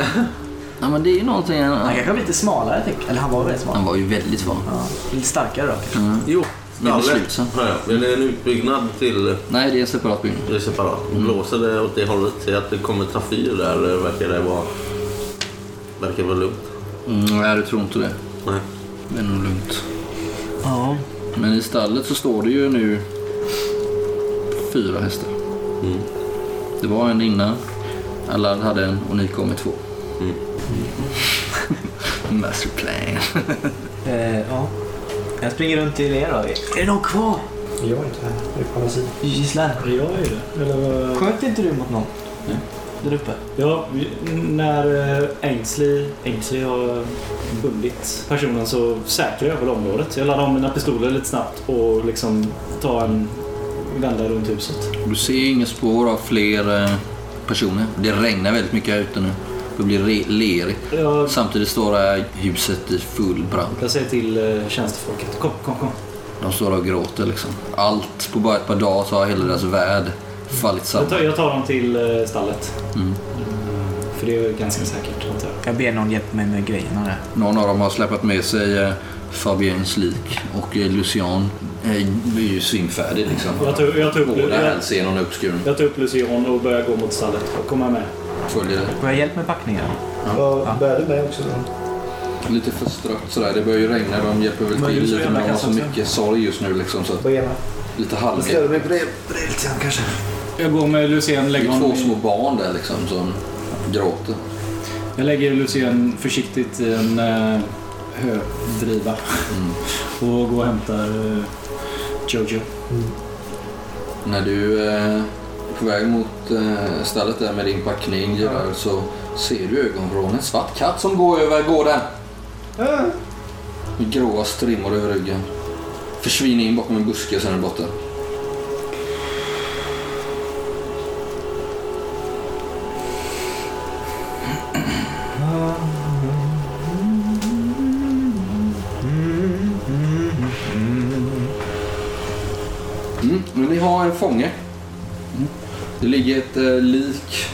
Speaker 2: Ja men det är ju någonting.
Speaker 7: Han
Speaker 2: Han,
Speaker 7: kanske blir lite smalare. Tänk. Eller han var väldigt smal.
Speaker 2: han var ju väldigt van.
Speaker 7: Ja. Lite starkare då. kanske.
Speaker 3: Jo,
Speaker 2: Men
Speaker 3: skallet.
Speaker 2: beslutsen.
Speaker 3: Ja, ja. Är det en utbyggnad till eh,
Speaker 2: Nej, det är en separat byggnad.
Speaker 3: det är separat? Blåser det åt det hållet? Ser jag att det kommer trafyr där? eh, Verkar det vara... Verkar vara lugnt.
Speaker 2: Mm, nej, du tror inte det.
Speaker 3: Nej.
Speaker 2: Det är nog lugnt. Ja. Men i stallet så står det ju nu fyra hästar. Det var en innan. Allard hade en och ni kom med två. Master plan.
Speaker 7: Eh, ja. Jag springer runt till er då. Är det någon kvar?
Speaker 8: Jag är inte här. Jag är på andra sidan.
Speaker 7: Gisslan.
Speaker 4: Jag är det. Eller vad...
Speaker 7: Sköt inte du mot någon? Där uppe?
Speaker 4: Ja, vi- när eh, Ainsley, Ainsley har bundit personen så säkrar jag väl området. Jag laddar om mina pistoler lite snabbt och liksom tar en vända runt huset.
Speaker 2: Du ser inga spår av fler eh, personer. Det regnar väldigt mycket här ute nu. Det blir re- lerigt.
Speaker 4: Jag,
Speaker 2: Samtidigt står det här huset i full brand.
Speaker 4: jag säger till eh, tjänstefolket, kom, kom, kom.
Speaker 2: De står och gråter liksom. Allt på bara ett par dagar så har hela deras värld fallit
Speaker 4: Jag tar,
Speaker 2: samman.
Speaker 4: jag tar dem till eh, stallet.
Speaker 2: Mm.
Speaker 4: Eh, För det är ju ganska säkert, antar jag.
Speaker 7: Jag ber någon hjälpa mig med grejerna där.
Speaker 2: Någon av dem har släpat med sig eh, Fabiens lik och eh, Lucian eh, är ju svimfärdig liksom.
Speaker 4: Jag tar, jag tar, upp,
Speaker 2: Båda
Speaker 4: jag,
Speaker 2: hälsenorna är uppskurna.
Speaker 4: jag tar upp Lucian och börjar gå mot stallet. Komma med.
Speaker 2: Följer det.
Speaker 7: Får jag hjälp med packningen?
Speaker 8: Ja, bär du med också då?
Speaker 2: Lite förstrött sådär. Det börjar ju regna. De hjälper väl till lite men de har så mycket sorg just nu liksom. Så att
Speaker 8: På ena.
Speaker 2: lite
Speaker 8: Jag
Speaker 2: halvhjärtat.
Speaker 8: ställer mig på det, på det lite grann kanske.
Speaker 5: Jag går med Lucien,
Speaker 2: Det
Speaker 5: lägger
Speaker 2: är två
Speaker 5: honom
Speaker 2: små barn där liksom som gråter.
Speaker 5: Jag lägger Lucien försiktigt i en eh, hödriva och går och hämtar eh, Jojo.
Speaker 2: När du eh, är på väg mot eh, stället där med din packning Gerard, så ser du i ögonvrån en svart katt som går över gården. Med gråa strimmor över ryggen. Försvinner in bakom en buske och sen är den borta. Mm. Men ni har en fånge. Mm. Det ligger ett eh, lik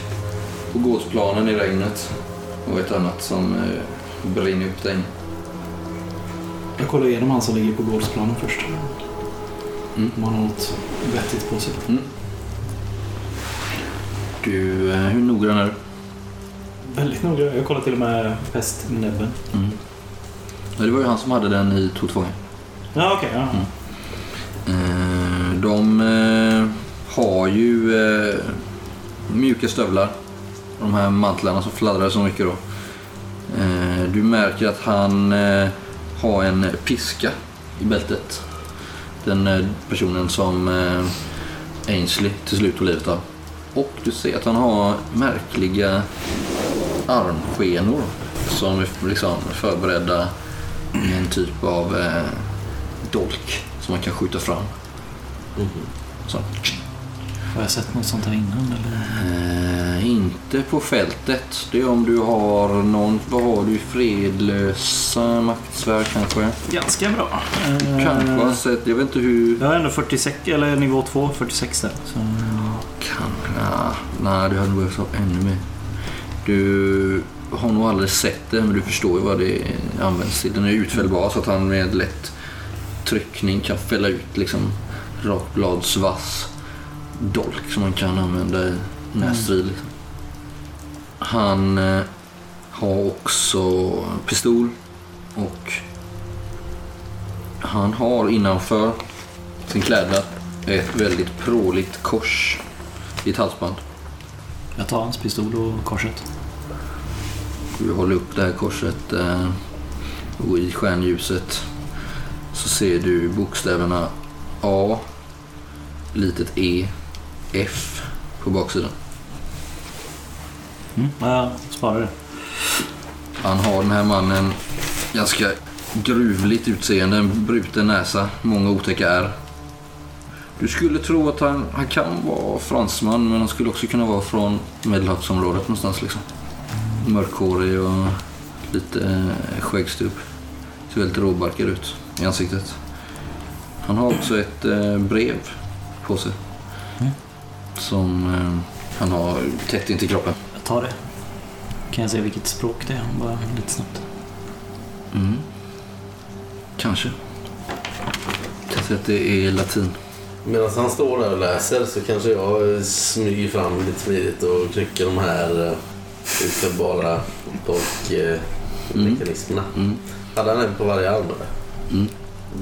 Speaker 2: på gårdsplanen i regnet och ett annat som eh, brinner upp där inne.
Speaker 5: Jag kollar igenom han som ligger på gårdsplanen först. Om han har något vettigt på sig.
Speaker 2: Du, eh, hur noggrann är du?
Speaker 5: Väldigt noga. Jag kollar till och med hästnäbben.
Speaker 2: Mm. Ja, Det var ju han som hade den i tog fånge.
Speaker 5: Ja, okej. ja.
Speaker 2: Eh, De eh, har ju eh, mjuka stövlar. De här mantlarna som fladdrar så mycket då. Eh, Du märker att han eh, har en piska i bältet. Den eh, personen som eh, Ainsley till slut tog livet av. Och du ser att han har märkliga armskenor som är liksom förberedda i en typ av eh, dolk som man kan skjuta fram. Så.
Speaker 5: Har jag sett något sånt här innan? Eller?
Speaker 2: Eh, inte på fältet. Det är om du har någon... Vad har du? Fredlösa maktsvärd kanske?
Speaker 5: Ganska bra.
Speaker 2: Kanske. har sett- Jag vet inte hur...
Speaker 5: Eh, Jag har ändå 46, eller nivå 2, 46 där. Så...
Speaker 2: Kanske. nah, Nej, du hade behövt ha ännu mer. Du har nog aldrig sett det, men du förstår ju vad det används till. Den är utfällbar så att han med lätt tryckning kan fälla ut liksom rakbladsvass dolk som man kan använda i närstrid. Liksom. Han eh, har också pistol och han har innanför sin klädnad ett väldigt pråligt kors i ett halsband.
Speaker 5: Jag tar hans pistol och korset.
Speaker 2: Du håller upp det här korset eh, och i stjärnljuset så ser du bokstäverna A, litet E, F på baksidan.
Speaker 5: Mm. Jag sparar det.
Speaker 2: Han har den här mannen ganska gruvligt utseende, en bruten näsa, många otäcka ärr. Du skulle tro att han, han kan vara fransman men han skulle också kunna vara från medelhavsområdet någonstans liksom. Mörkhårig och lite eh, skäggstubb. Ser väldigt råbarkad ut i ansiktet. Han har också ett eh, brev på sig. Som eh, han har tätt intill kroppen.
Speaker 5: Jag tar det. Kan jag se vilket språk det är? Bara lite snabbt.
Speaker 2: Mm. Kanske. Jag tror att det är latin.
Speaker 3: Medan han står där och läser så kanske jag eh, smyger fram lite smidigt och trycker de här eh, utfällbara eh, dolkmekanismerna.
Speaker 2: Mm.
Speaker 3: Hade han en på varje arm eller?
Speaker 2: Mm.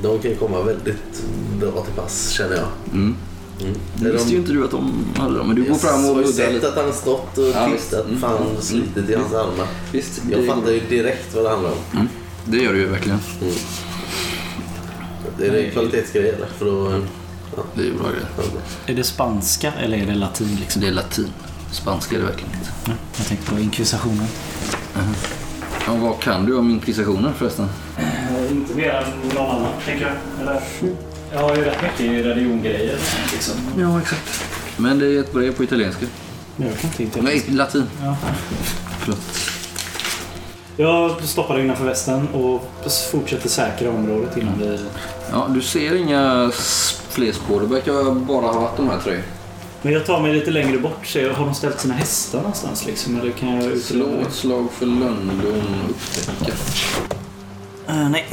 Speaker 3: De kan ju komma väldigt bra till pass känner jag.
Speaker 2: Mm.
Speaker 3: Mm.
Speaker 2: Det visste ju inte du att de hade dem, men du går fram och
Speaker 3: Jag har ju
Speaker 2: luddar
Speaker 3: sett
Speaker 2: lite.
Speaker 3: att han har stått och
Speaker 2: Ja, visst.
Speaker 3: tittat.
Speaker 2: Mm.
Speaker 3: Fan,
Speaker 2: Mm. Mm.
Speaker 3: slitit i hans armar.
Speaker 2: Visst,
Speaker 3: Jag fattar
Speaker 2: det,
Speaker 3: ju direkt vad det handlar om.
Speaker 2: det gör du ju verkligen.
Speaker 3: Är det kvalitetsgrejer eller? För då...
Speaker 2: Det är ju bra grejer.
Speaker 5: Är det spanska eller är det latin? Liksom?
Speaker 2: Det är latin. Spanska är det verkligen inte.
Speaker 5: Ja, jag tänkte på inkvisationen.
Speaker 2: Ja, vad kan du om inkvisationen förresten?
Speaker 4: Eh, Inte mer än någon annan, tänker jag. Eller? Jag har ju rätt mycket religiongrejer. Liksom.
Speaker 2: Ja, exakt. Men det är ett brev på italienska.
Speaker 5: Men jag kan inte hitta
Speaker 2: Nej, latin.
Speaker 5: Ja.
Speaker 2: Förlåt.
Speaker 5: Jag stoppar det innanför västen och fortsätter säkra området innan vi...
Speaker 2: Ja, du ser inga s- fler spår. Det verkar bara ha varit de här tre.
Speaker 5: Men jag tar mig lite längre bort. Så jag- har de ställt sina hästar någonstans? Liksom, eller kan jag
Speaker 2: Slå
Speaker 5: utreda
Speaker 2: ett slag för lögndom och upptäcka.
Speaker 5: Eh, nej.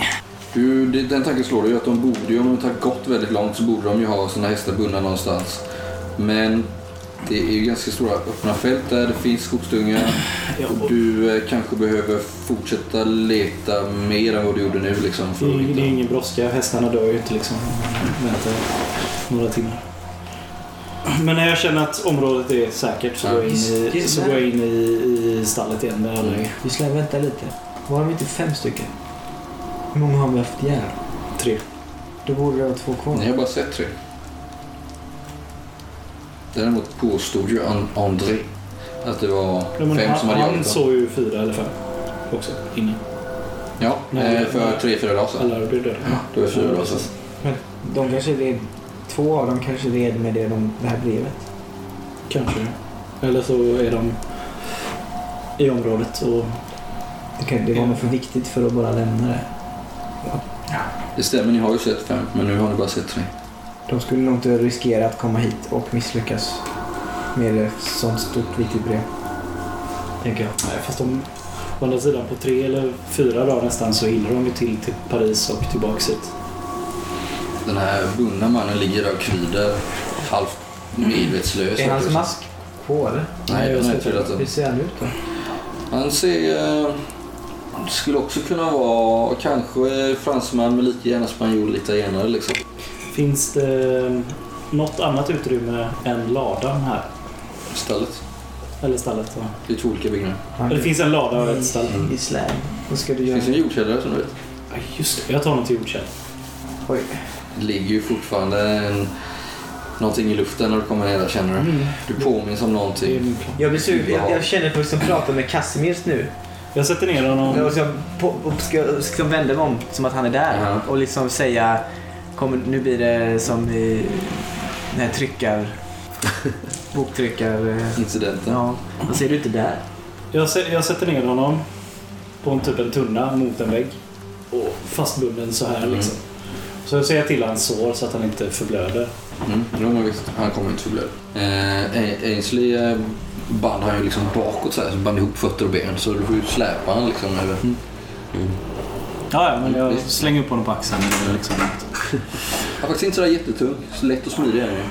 Speaker 2: Du, det- den tanken slår dig ju att de borde ju, om det har gått väldigt långt så borde de ju ha sina hästar bundna någonstans. Men det är ju ganska stora öppna fält där det finns skogsdungar
Speaker 5: Ja,
Speaker 2: och du eh, kanske behöver fortsätta leta mer än vad du gjorde nu liksom.
Speaker 5: Det
Speaker 2: För att
Speaker 5: är, det är
Speaker 2: hitta.
Speaker 5: ingen brådska. Hästarna dör ju inte liksom. Vänta några timmar. Men när jag känner att området är säkert så
Speaker 2: Ja.
Speaker 5: går jag in i, så går jag in i, i stallet igen. Där alla är.
Speaker 6: Vi skulle vänta lite. Var de inte fem stycken? Hur många har vi haft ihjäl?
Speaker 5: Tre.
Speaker 6: Då borde det vara två kvar.
Speaker 2: Ni har bara sett tre. Däremot påstod ju An- André att det var
Speaker 5: Ja, men
Speaker 2: fem
Speaker 5: han
Speaker 2: som hade
Speaker 5: han
Speaker 2: jagat dem.
Speaker 5: såg ju fyra eller fem också innan.
Speaker 2: Ja,
Speaker 5: Nej,
Speaker 2: eh, för
Speaker 5: nej.
Speaker 2: tre, fyra dagar sedan.
Speaker 5: Alla blev döda.
Speaker 2: Det var fyra dagar sedan.
Speaker 6: De kanske red, två av dem kanske red med det, de, det här brevet.
Speaker 5: Kanske. Eller så är de i området och...
Speaker 6: Det, kan, det var nog för viktigt för att bara lämna det.
Speaker 2: Det stämmer, ni har ju sett fem, men nu har ni bara sett tre.
Speaker 9: De skulle nog inte riskera att komma hit och misslyckas med ett sånt stort viktigt brev.
Speaker 4: tänker jag. Nej, fast de, å andra sidan på tre eller fyra dagar nästan så hinner de ju till, till Paris och tillbaks hit.
Speaker 2: Den här bundna mannen ligger där och kvider, halvt medvetslös.
Speaker 9: Är hans mask på eller?
Speaker 2: Nej, den är tydligt
Speaker 9: Hur ser han ut då?
Speaker 2: Han ser... eh, Skulle också kunna vara kanske fransman men lika gärna spanjor, lite italienare liksom.
Speaker 4: Finns det eh, något annat utrymme än ladan här?
Speaker 2: Stället.
Speaker 4: Eller stallet? Ja.
Speaker 2: Det är två olika byggnader.
Speaker 9: Han
Speaker 4: Eller det finns en lada och ett stall.
Speaker 9: i slang. Vad ska du
Speaker 2: Det
Speaker 9: göra?
Speaker 2: finns en jordkällare som du vet.
Speaker 4: Ja, just det. Jag tar något till jordkäll.
Speaker 9: Oj.
Speaker 2: Det ligger ju fortfarande en, någonting i luften när du kommer ner där känner du.
Speaker 9: Mm.
Speaker 2: Du påminns om
Speaker 4: Det är
Speaker 2: någonting.
Speaker 4: min plan.
Speaker 9: Jag blir sugen. Jag, jag känner folk som pratar med Casimirs nu.
Speaker 4: Jag sätter ner honom.
Speaker 9: Jag ska, på, och ska, ska vända mig om som att han är där
Speaker 2: Ja.
Speaker 9: och liksom säga kom, nu blir det som i när tryckar boktryckar
Speaker 5: Mm.
Speaker 2: Incidenten.
Speaker 9: eh, ja, vad ser du inte där?
Speaker 4: Jag, sä- jag sätter ner honom på en typ en tunna mot en vägg. Och fastbunden så här liksom. Så jag ser till hans sår så att han inte förblöder.
Speaker 2: Mm, det var nog visst. Han kommer inte förblöda. Eh, Ainsley eh, band han ju liksom bakåt så här, så band ihop fötter och ben så du får ju släpa han liksom. över.
Speaker 5: Ja, ja, men jag
Speaker 2: Visst.
Speaker 5: slänger upp honom på axeln. eller Liksom.
Speaker 2: Han är faktiskt inte sådär jättetung. Så lätt och smidig är han ju.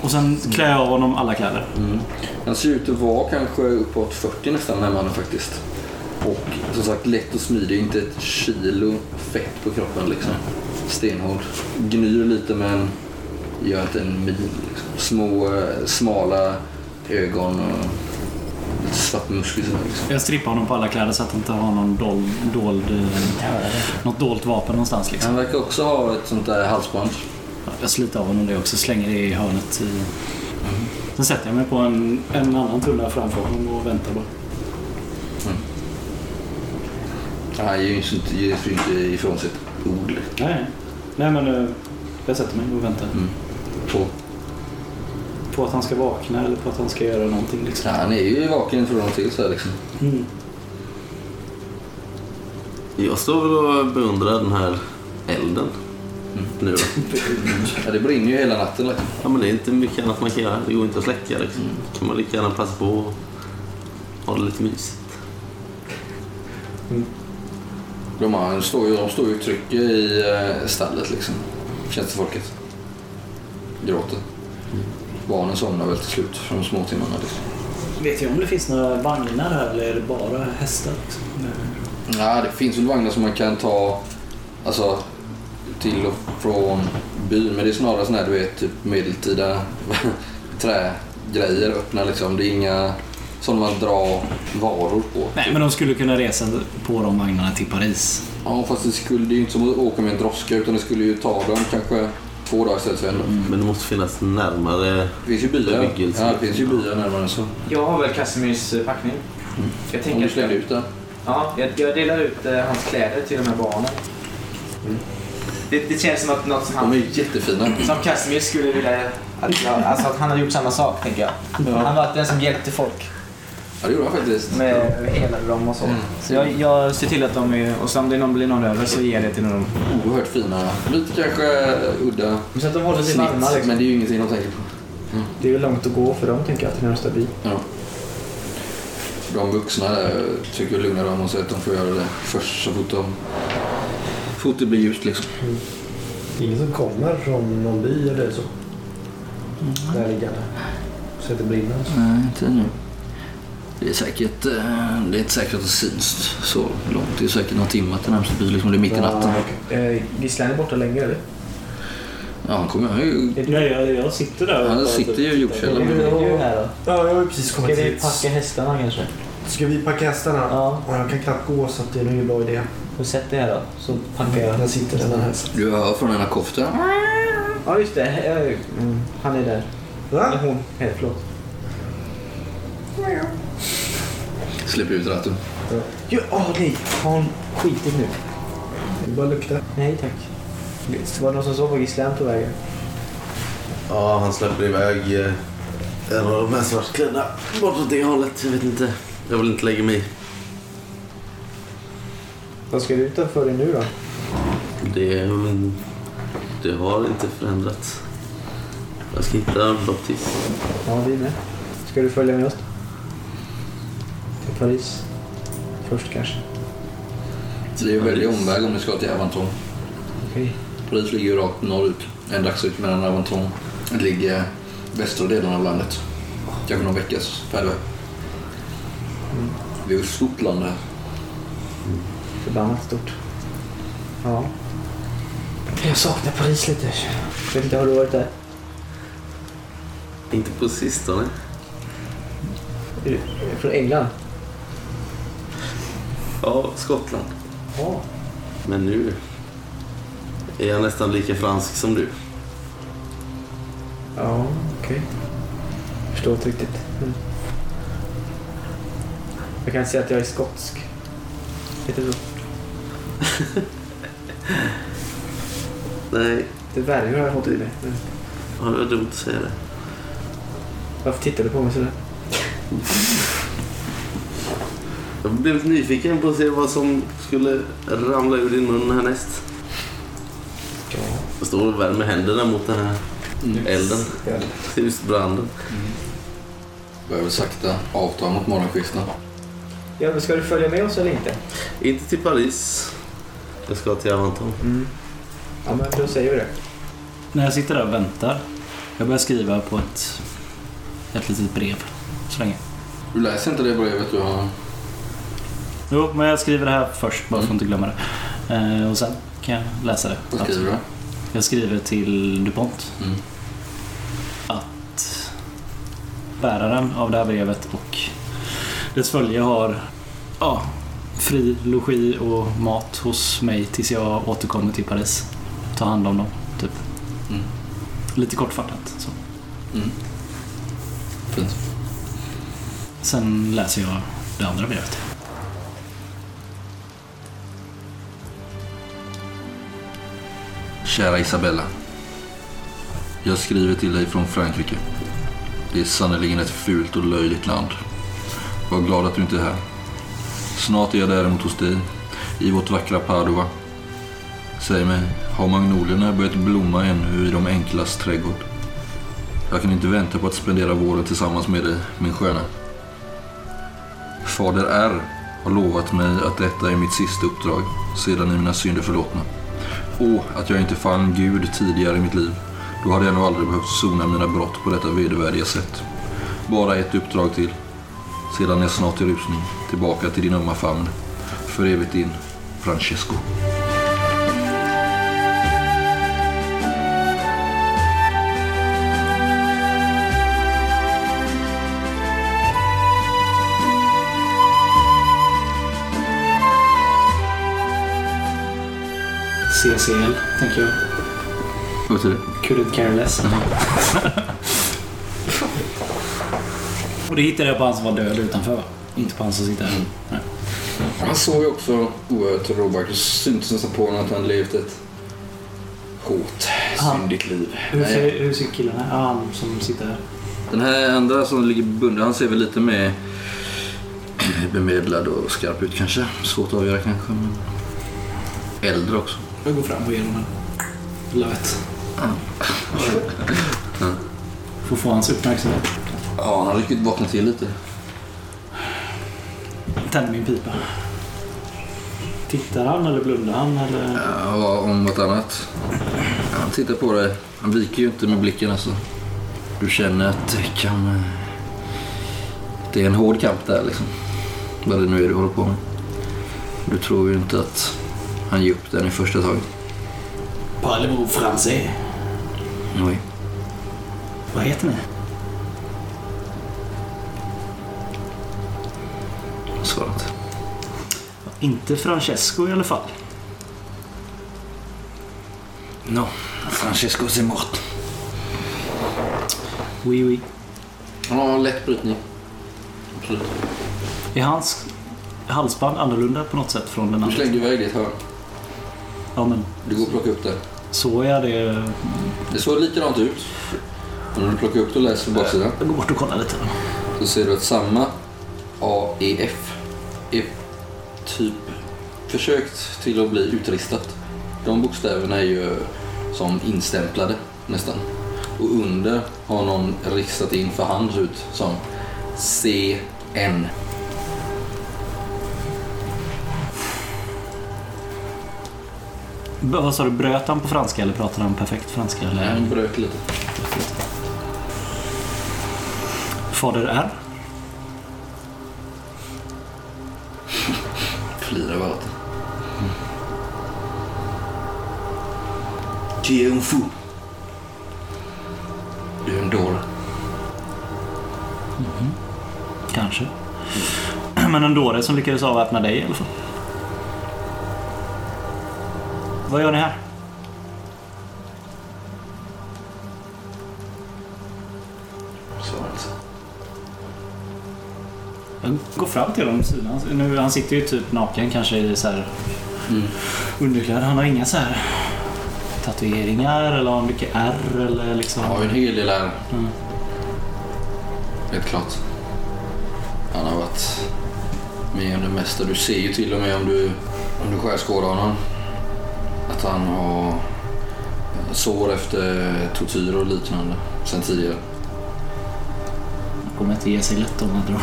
Speaker 5: Och sen
Speaker 9: Mm.
Speaker 5: klär jag av honom alla kläder.
Speaker 2: Han ser ut att vara kanske uppåt 40 nästan den här mannen faktiskt. Och som sagt lätt och smidig, inte ett kilo fett på kroppen liksom. Stenhård. Gnyr lite men gör inte en min. Liksom. Små eh, smala ögon och lite svart muskel sådär liksom.
Speaker 5: Jag strippar honom på alla kläder så att han inte har någon dold, dold, eh, något dolt vapen någonstans. Liksom.
Speaker 2: Han verkar också ha ett sånt där halsband.
Speaker 5: Jag sliter av honom det också, slänger det i hörnet. I... Sen sätter jag mig på en, en annan tunna framför honom och väntar bara.
Speaker 2: Han ger ju inte, ger ju inte ifrån sig ett ord. liksom.
Speaker 4: Nej, nej men eh, jag sätter mig och väntar.
Speaker 5: Mm.
Speaker 2: På.
Speaker 4: På att han ska vakna eller på att han ska göra någonting liksom.
Speaker 2: Ja, Han är ju vaken från och till så här, liksom.
Speaker 4: Mm.
Speaker 3: Jag står väl och beundrar den här elden. Nu då.
Speaker 2: Ja, det brinner ju hela natten liksom.
Speaker 3: Ja, men det är inte mycket annat man kan göra. Det går inte att släcka. Liksom. kan man lika gärna passa på och ha det lite mysigt.
Speaker 2: De, har, de, står, ju, de står ju och trycker i eh, stallet liksom. Tjänstefolket. Gråter. Barnen somnar väl till slut från små timmarna. Liksom.
Speaker 4: Vet jag om det finns några vagnar här eller är det bara hästar? Liksom?
Speaker 2: Ja, det finns väl vagnar som man kan ta alltså, till och från byn. Men det är snarare sådana här du vet, typ medeltida trägrejer öppna liksom. Det är inga som man drar varor på.
Speaker 5: Nej, men de skulle kunna resa på de vagnarna till Paris.
Speaker 2: Ja, fast det, skulle, det är ju inte som att åka med en droska utan det skulle ju ta dem kanske två dagar istället för en.
Speaker 3: Men det måste finnas närmare.
Speaker 2: Mm. Det finns ju byar.
Speaker 3: Bebyggelse.
Speaker 2: Ja, det finns ju byar närmare så.
Speaker 7: Jag har väl Casimirs eh, packning. Jag
Speaker 2: Om
Speaker 7: tänker
Speaker 2: du
Speaker 7: att
Speaker 2: slänger ut den.
Speaker 7: Ja, jag, jag delar ut eh, hans kläder till de här barnen. Mm. Det, det känns som att något som
Speaker 2: De är
Speaker 7: han...
Speaker 2: ju jättefina.
Speaker 7: Som Casimir skulle vilja... Att jag, alltså att han hade gjort samma sak, tänker jag. Han var den som hjälpte folk
Speaker 2: Ja, det gjorde han faktiskt.
Speaker 7: med hela dem och så.
Speaker 9: Mm.
Speaker 7: Så jag, jag ser till att de är... Och så om det någon blir någon över så ger jag det till någon.
Speaker 2: Oerhört fina. Lite kanske udda
Speaker 9: Så att de håller sig varma
Speaker 2: snitt,
Speaker 9: liksom.
Speaker 2: men det är ju ingenting de tänker på.
Speaker 9: Det är ju långt att gå för dem tänker jag till närmsta by.
Speaker 2: Ja. De vuxna där försöker lugna dem och säga att de får göra det först så fort de... så fort det blir ljust liksom.
Speaker 8: Det är ingen som kommer från någon by eller så. Där liggande. Så att det brinner.
Speaker 2: Nej, inte nu. Det är säkert... eh, Det är inte säkert att det syns så långt. Det är säkert några timmar till närmsta by. Liksom. Det är mitt i natten.
Speaker 9: Eh, Gisslan är borta länge eller?
Speaker 2: Ja, han kommer ju...
Speaker 4: Nej, jag, jag sitter där och
Speaker 2: Han
Speaker 4: bara
Speaker 2: sitter ju i jordkällaren.
Speaker 9: Du är ju här då.
Speaker 8: Ja, jag har ju precis
Speaker 9: Ska
Speaker 8: kommit
Speaker 9: vi
Speaker 8: hit.
Speaker 9: packa hästarna kanske?
Speaker 8: Ska vi packa hästarna?
Speaker 9: Ja.
Speaker 8: Ja, Jag kan knappt gå så att det är nog ingen bra idé.
Speaker 9: Och sätt dig här då så packar jag.
Speaker 8: Där sitter den här hästen.
Speaker 2: Du hör från den här koftan.
Speaker 9: Ja just det, jag, mm, han är där. Eller
Speaker 8: Va?
Speaker 9: hon, eh, förlåt.
Speaker 2: Släpper ut ratten.
Speaker 9: Jo, åh nej, har hon skitit nu?
Speaker 8: Det bara luktar.
Speaker 9: Nej tack. Var det någon som såg på Gisslan på vägen?
Speaker 3: Ja, han släpper iväg eh, en av de här svartklädda bortåt det hållet. Jag vet inte. Jag vill inte lägga mig i.
Speaker 9: Vad ska du utanför dig nu då?
Speaker 3: Det, det har inte förändrats. Jag ska hitta Baptiste.
Speaker 9: Ja, vi med. Ska du följa med oss? Till Paris? Först kanske.
Speaker 2: Så det är ju väldigt omväg om ni ska till Avanton.
Speaker 9: Okej.
Speaker 2: Paris ligger ju rakt norrut. En dagsut mellan Avanton. Det ligger västra delen av landet. Kanske någon veckas färdväg. Det är ju ett stort land det här.
Speaker 9: Förbannat stort. Ja. Jag saknar Paris lite. Vet inte, har du varit där?
Speaker 3: Inte på sistone.
Speaker 9: Är du Från England?
Speaker 3: Ja, Skottland.
Speaker 9: Ja.
Speaker 3: Men nu är jag nästan lika fransk som du.
Speaker 9: Ja, okej. Förstår inte riktigt. Mm. Jag kan säga att jag är skotsk. Lite så.
Speaker 3: Nej,
Speaker 9: Det värre har jag fått i mig. Mm.
Speaker 3: ja, det var dumt att säga det.
Speaker 9: Varför tittar du på mig sådär?
Speaker 3: Jag har blivit nyfiken på att se vad som skulle ramla ur din mun härnäst.
Speaker 9: Ja.
Speaker 3: Jag står och värmer händerna mot den här elden. Husbranden.
Speaker 2: Börjar väl sakta avta mot morgonkvisten.
Speaker 9: Ja, men ska du följa med oss eller inte?
Speaker 3: Inte till Paris. Jag ska till Avanton.
Speaker 9: Ja, men då säger vi det.
Speaker 7: När jag sitter där och väntar. Jag börjar skriva på ett, ett litet brev. Så länge.
Speaker 2: Du läser inte det brevet du har?
Speaker 7: Jo, men jag skriver det här först bara för att inte glömma det. Eh, och sen kan jag läsa det.
Speaker 2: Vad skriver du?
Speaker 7: Jag skriver till DuPont.
Speaker 2: Mm.
Speaker 7: Att bäraren av det här brevet och dess följe har ja, fri logi och mat hos mig tills jag återkommer till Paris. Ta hand om dem, typ.
Speaker 2: Mm.
Speaker 7: Lite kortfattat. Så.
Speaker 2: Fint.
Speaker 7: Sen läser jag det andra brevet.
Speaker 2: Kära Isabella. Jag skriver till dig från Frankrike. Det är sannerligen ett fult och löjligt land. Var glad att du inte är här. Snart är jag däremot hos dig, i vårt vackra Padua. Säg mig, har magnolierna börjat blomma ännu i de enklas trädgård? Jag kan inte vänta på att spendera våren tillsammans med dig, min sköna. Fader R har lovat mig att detta är mitt sista uppdrag, sedan är mina synder förlåtna. Åh, att jag inte fann Gud tidigare i mitt liv. Då hade jag nog aldrig behövt sona mina brott på detta vedervärdiga sätt. Bara ett uppdrag till. Sedan är jag snart i rusning, tillbaka till din ömma famn. För evigt din, Francesco.
Speaker 10: CCL, tänker jag.
Speaker 2: Vad betyder det?
Speaker 10: Couldn't care less.
Speaker 7: Och det hittade jag på han som var död utanför va? Inte på han som sitter här. Nej.
Speaker 2: Han såg ju också oerhört Robert. Det syntes nästan på honom att han levt ett hårt,
Speaker 10: Han-
Speaker 2: syndigt liv.
Speaker 10: Hur
Speaker 2: Nej.
Speaker 10: ser, hur ser killen här? Ja, han som sitter här.
Speaker 2: Den här andra som ligger bunden, han ser väl lite mer bemedlad och skarp ut kanske. Svårt att avgöra kanske. Men... Äldre också.
Speaker 10: Jag går fram och ger honom en lövet.
Speaker 7: Får få hans uppmärksamhet.
Speaker 2: Ja, han har riktigt vaknat till lite.
Speaker 7: Tänder min pipa.
Speaker 10: Tittar han eller blundar han? Eller?
Speaker 2: Ja, om något annat. Han tittar på dig. Han viker ju inte med blicken alltså. Du känner att det kan... eh, Det är en hård kamp där liksom. Vad det nu är du håller på med. Du tror ju inte att han ger upp den i första taget.
Speaker 10: Parlez-vous français?
Speaker 2: Oj.
Speaker 7: Vad heter ni?
Speaker 2: Svarat.
Speaker 7: Inte Francesco i alla fall.
Speaker 2: No, Francesco är mort.
Speaker 7: Oui, oui.
Speaker 2: Han har en lätt brytning. Absolut.
Speaker 7: Är hans halsband annorlunda på något sätt från den
Speaker 2: Du
Speaker 7: andra?
Speaker 2: slängde iväg ditt hörn.
Speaker 7: Ja, men
Speaker 2: Du går och plockar upp det.
Speaker 7: så är det.
Speaker 2: Det såg likadant ut. Men när du plockar upp det och läser på baksidan
Speaker 7: Jag går bort och kollar lite.
Speaker 2: så ser du att samma AEF är typ försökt till att bli utristat. De bokstäverna är ju som instämplade nästan. Och under har någon rissat in för hand ser ut som CN.
Speaker 7: B- vad sa du, bröt han på franska eller pratade han perfekt franska? Eller?
Speaker 2: Han bröt lite.
Speaker 7: Fader R?
Speaker 2: Flirar bara åt det. Tu es un fou. Du är en dåre.
Speaker 7: Kanske. Men en dåre som lyckades avväpna dig i alla fall. Vad gör ni här?
Speaker 2: Svarar inte.
Speaker 7: Jag går fram till honom. sidan. Alltså, Nu, han sitter ju typ naken kanske i så här Mm. underkläder. Han har inga så här tatueringar eller har han mycket ärr eller liksom...
Speaker 2: Han har ju en hel del här.
Speaker 7: Mm.
Speaker 2: Helt klart. Han har varit med om det mesta. Du ser ju till och med om du, om du skärskådar honom att han har eh, sår efter tortyr och liknande sen tidigare.
Speaker 7: Han kommer inte ge sig lätt om andra ord.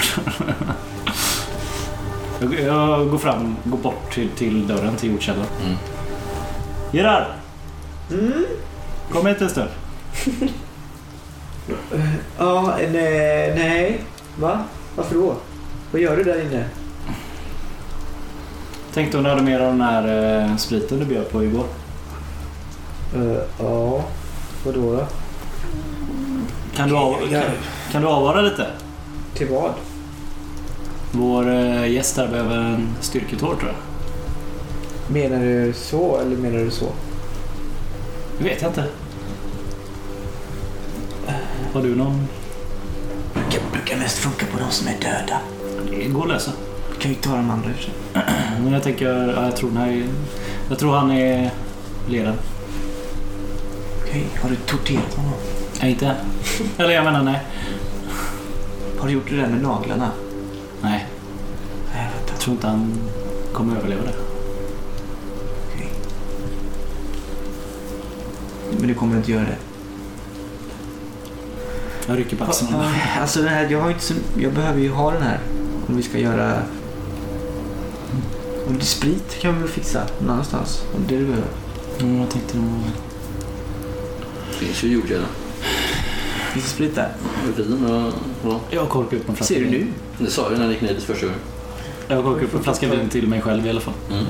Speaker 7: jag, jag går fram, går bort till, till dörren till jordkällaren.
Speaker 2: Mm.
Speaker 7: Gerard! Kom hit en stund.
Speaker 9: Ja, eh, nej, nej. Va? Varför då? Vad gör du där inne?
Speaker 7: Tänkte om du hade mer av den här eh, spriten du bjöd på igår.
Speaker 9: Eh, ja, vadå då?
Speaker 7: Kan du, av, kan, kan du avvara lite?
Speaker 9: Till vad?
Speaker 7: Vår eh, gäst här behöver en styrketår tror jag.
Speaker 9: Menar du så eller menar du så?
Speaker 7: Det vet jag inte. Har du någon?
Speaker 9: Brukar mest funka på de som är döda.
Speaker 7: Det går att lösa.
Speaker 9: Kan ju inte ta de andra ur sig.
Speaker 7: Men jag tänker, ja, jag tror den här är, Jag tror han är ledaren.
Speaker 9: Okej, har du torterat honom?
Speaker 7: Nej, inte än. Eller jag menar nej.
Speaker 9: Har du gjort det där med naglarna?
Speaker 7: Nej,
Speaker 9: Nej, vänta.
Speaker 7: jag tror inte han kommer överleva det.
Speaker 9: Okej. Men du kommer inte göra det?
Speaker 7: Jag rycker på axlarna.
Speaker 9: Alltså den här, jag, har ju inte så, jag behöver ju ha den här om vi ska göra... Om det är sprit kan vi väl fixa någon annanstans. Om det är det du behöver.
Speaker 7: Mm, jag tänkte nog...
Speaker 2: Finns ju jordgubbar.
Speaker 9: Finns det sprit där?
Speaker 2: Vin och... Ja.
Speaker 7: Jag korkar upp en flaska
Speaker 9: Ser du
Speaker 7: vin.
Speaker 9: nu?
Speaker 2: Det sa jag när ni gick ner dit första gången.
Speaker 7: Jag korkar upp en flaska vin till mig själv i alla fall.
Speaker 2: Mm.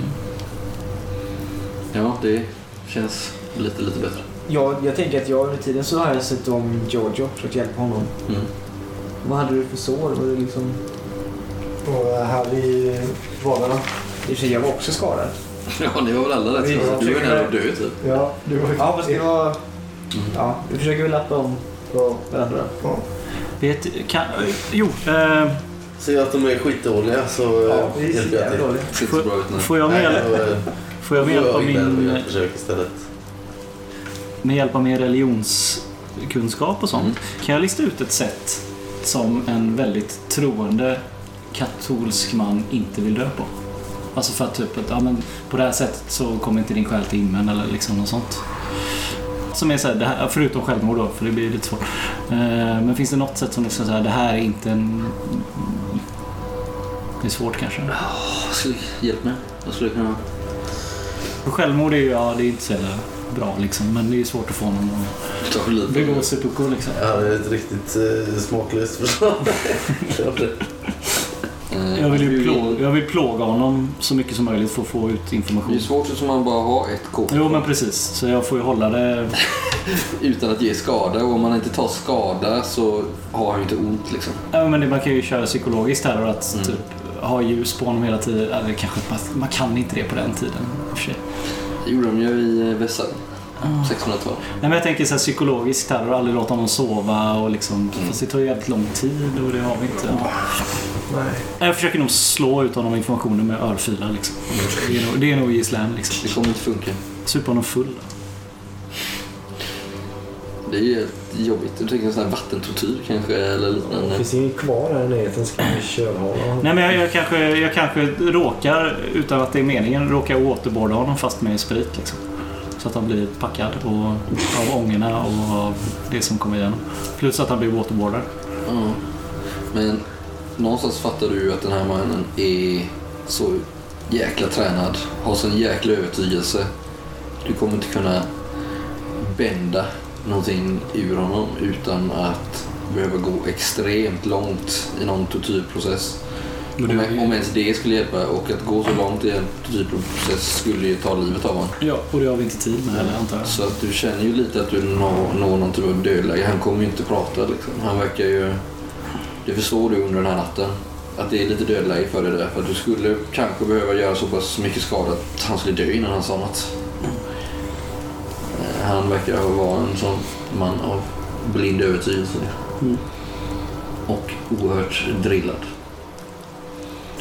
Speaker 2: Ja, det känns lite, lite bättre.
Speaker 9: Ja, jag tänker att jag under tiden så har jag sett om Giorgio för att hjälpa honom.
Speaker 2: Mm.
Speaker 9: Vad hade du för sår? Var det liksom...
Speaker 8: Och eh, här i valarna.
Speaker 9: I och för sig, jag var också skadad.
Speaker 2: Ja, ni var väl alla rätt.
Speaker 8: Vi-
Speaker 2: så Du var ju nära att dö typ.
Speaker 8: Ja, du var ju...
Speaker 9: Ja, fast det var... Ja, vi försöker väl lappa om på varandra.
Speaker 7: Vet, kan, jo, eh,
Speaker 3: Ser jag att de är skitdåliga så
Speaker 9: Ja,
Speaker 3: eh,
Speaker 9: vi är så
Speaker 3: hjälper jag
Speaker 9: jävla
Speaker 3: till.
Speaker 9: dåliga.
Speaker 2: Ser inte så bra ut nu.
Speaker 7: får jag med,
Speaker 3: Nej, då, eh,
Speaker 7: får jag med
Speaker 3: då
Speaker 7: hjälp
Speaker 3: gör
Speaker 7: av
Speaker 3: vi det och gör
Speaker 7: min,
Speaker 3: ett försök istället.
Speaker 7: med hjälp av min religionskunskap och sånt, kan jag lista ut ett sätt som en väldigt troende katolsk man inte vill dö på? Alltså för att typ att ja, men på det här sättet så kommer inte din själ till himlen eller liksom något sånt. Som är så här, det här, förutom självmord då, för det blir ju lite svårt. Eh, Men finns det något sätt som liksom så här, det här är inte en... Det är svårt kanske.
Speaker 2: Vad skulle- Hjälp mig. Vad skulle jag kunna...
Speaker 7: För Självmord är ju, ja det är inte så jävla bra liksom, men det är ju svårt att få någon att
Speaker 2: Ta livet
Speaker 7: begå seppuku liksom.
Speaker 3: Ja, det är ett riktigt eh, smaklöst förslag.
Speaker 2: Eh,
Speaker 7: Jag vill ju
Speaker 2: du-
Speaker 7: plåga, jag vill plåga honom så mycket som möjligt för att få ut
Speaker 2: Det är ju
Speaker 7: information.
Speaker 2: svårt eftersom man bara har ett kort
Speaker 7: Jo men precis, så jag får ju hålla det.
Speaker 2: utan att ge skada. Och om man inte tar skada så har han ju inte ont liksom.
Speaker 7: Ja, men det, man kan ju köra psykologiskt här och att
Speaker 2: Mm.
Speaker 7: typ ha ljus på honom hela tiden. Eller kanske man, man kan inte det på den tiden. i och för sig.
Speaker 2: Det gjorde de ju i eh, Vessar.
Speaker 7: Ah.
Speaker 2: 1600-tal.
Speaker 7: Nej, men jag tänker så här psykologiskt här och aldrig låta honom sova och liksom,
Speaker 2: Mm.
Speaker 7: fast det tar ju jävligt lång tid och det har vi inte. Ja. Jag försöker nog slå ut honom informationen med örfilar liksom.
Speaker 2: Mm.
Speaker 7: Det är nog, det är nog gisslan liksom.
Speaker 2: Det kommer inte funka.
Speaker 7: Supa honom full.
Speaker 2: Det är ju jobbigt. Du tänker en sån här vattentortyr kanske eller
Speaker 8: Det
Speaker 2: liknande.
Speaker 8: finns ingen kvar här i närheten. Ska vi kölhala
Speaker 7: Nej men jag, jag, kanske, jag kanske råkar, utan att det är meningen, råkar återborda honom fast med sprit liksom.
Speaker 5: Så att han blir packad och, av ångorna och av det som kommer igenom. Plus att han blir waterboardad.
Speaker 2: Ja. Men någonstans fattar du ju att den här mannen är så jäkla tränad. Har sån jäkla övertygelse. Du kommer inte kunna bända någonting ur honom utan att behöva gå extremt långt i någon tortyrprocess.
Speaker 5: Men det-
Speaker 2: Om, om ens det skulle hjälpa och att gå så långt i en tortyrprocess skulle ju ta livet av honom.
Speaker 5: Ja, och det har vi inte tid med heller antar jag.
Speaker 2: Så att du känner ju lite att du når, når någon typ av dödläge. Han kommer ju inte prata liksom. Han verkar ju... Det förstår du under den här natten. Att det är lite dödläge för dig där. För att du skulle kanske behöva göra så pass mycket skada att han skulle dö innan han sa något. Eh, Han verkar vara en sån man av blind övertygelse.
Speaker 5: Mm.
Speaker 2: Och oerhört drillad.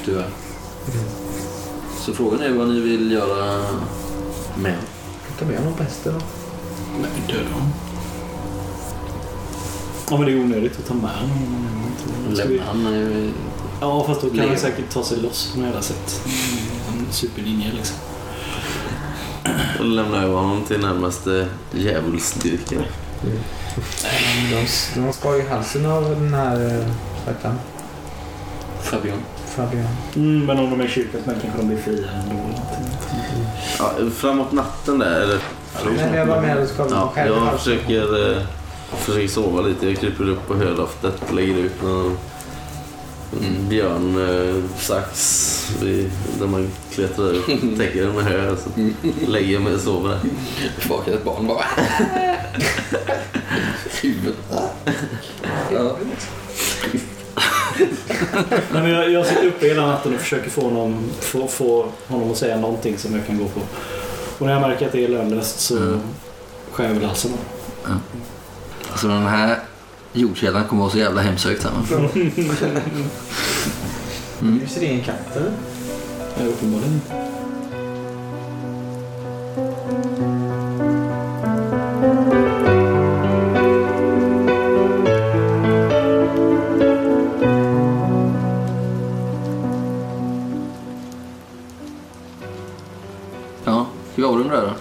Speaker 2: Tyvärr. Så frågan är vad ni vill göra med
Speaker 9: Ta med honom på hästen då.
Speaker 5: Nej, döda honom. Ja, men det är onödigt att ta med honom. Ska vi-
Speaker 2: Lämna han eh, är ju-
Speaker 5: Ja, fast då kan
Speaker 2: Lever.
Speaker 5: han säkert ta sig loss på något jävla sätt.
Speaker 2: Mm.
Speaker 5: En superninja liksom.
Speaker 3: Och lämnar över honom till närmaste djävulsdyrkare.
Speaker 9: De, de skar ju halsen av den här... eh, Vad heter han?
Speaker 2: Fabian.
Speaker 9: Fabian.
Speaker 5: Mm, men om de är kyrkans män kanske de blir fria ändå. eller någonting.
Speaker 3: Ja, framåt natten där, eller?
Speaker 9: Men jag var med och skar
Speaker 3: Ja,
Speaker 9: ja, själv
Speaker 3: jag
Speaker 9: halsen.
Speaker 3: försöker, eh, försöker sova lite. Jag kryper upp på hölloftet, lägger ut någon en björn eh, sax vid, där man klättrar upp, täcker den med hö. Så lägger jag mig och sover där.
Speaker 2: Bakar ett barn bara. Huvudet. Ja.
Speaker 5: Nej, men jag, jag sitter uppe hela natten och försöker få honom, få, få honom att säga någonting som jag kan gå på. Och när jag märker att det är lönlöst så
Speaker 2: Mm.
Speaker 5: skär jag över halsen. av honom.
Speaker 2: Alltså den här jordkällan kommer vara så jävla hemsökt här. va?
Speaker 9: Nu ser det ingen katt eller?
Speaker 5: Ja, Uppenbarligen inte.
Speaker 2: Ja, ska vi avrunda där då?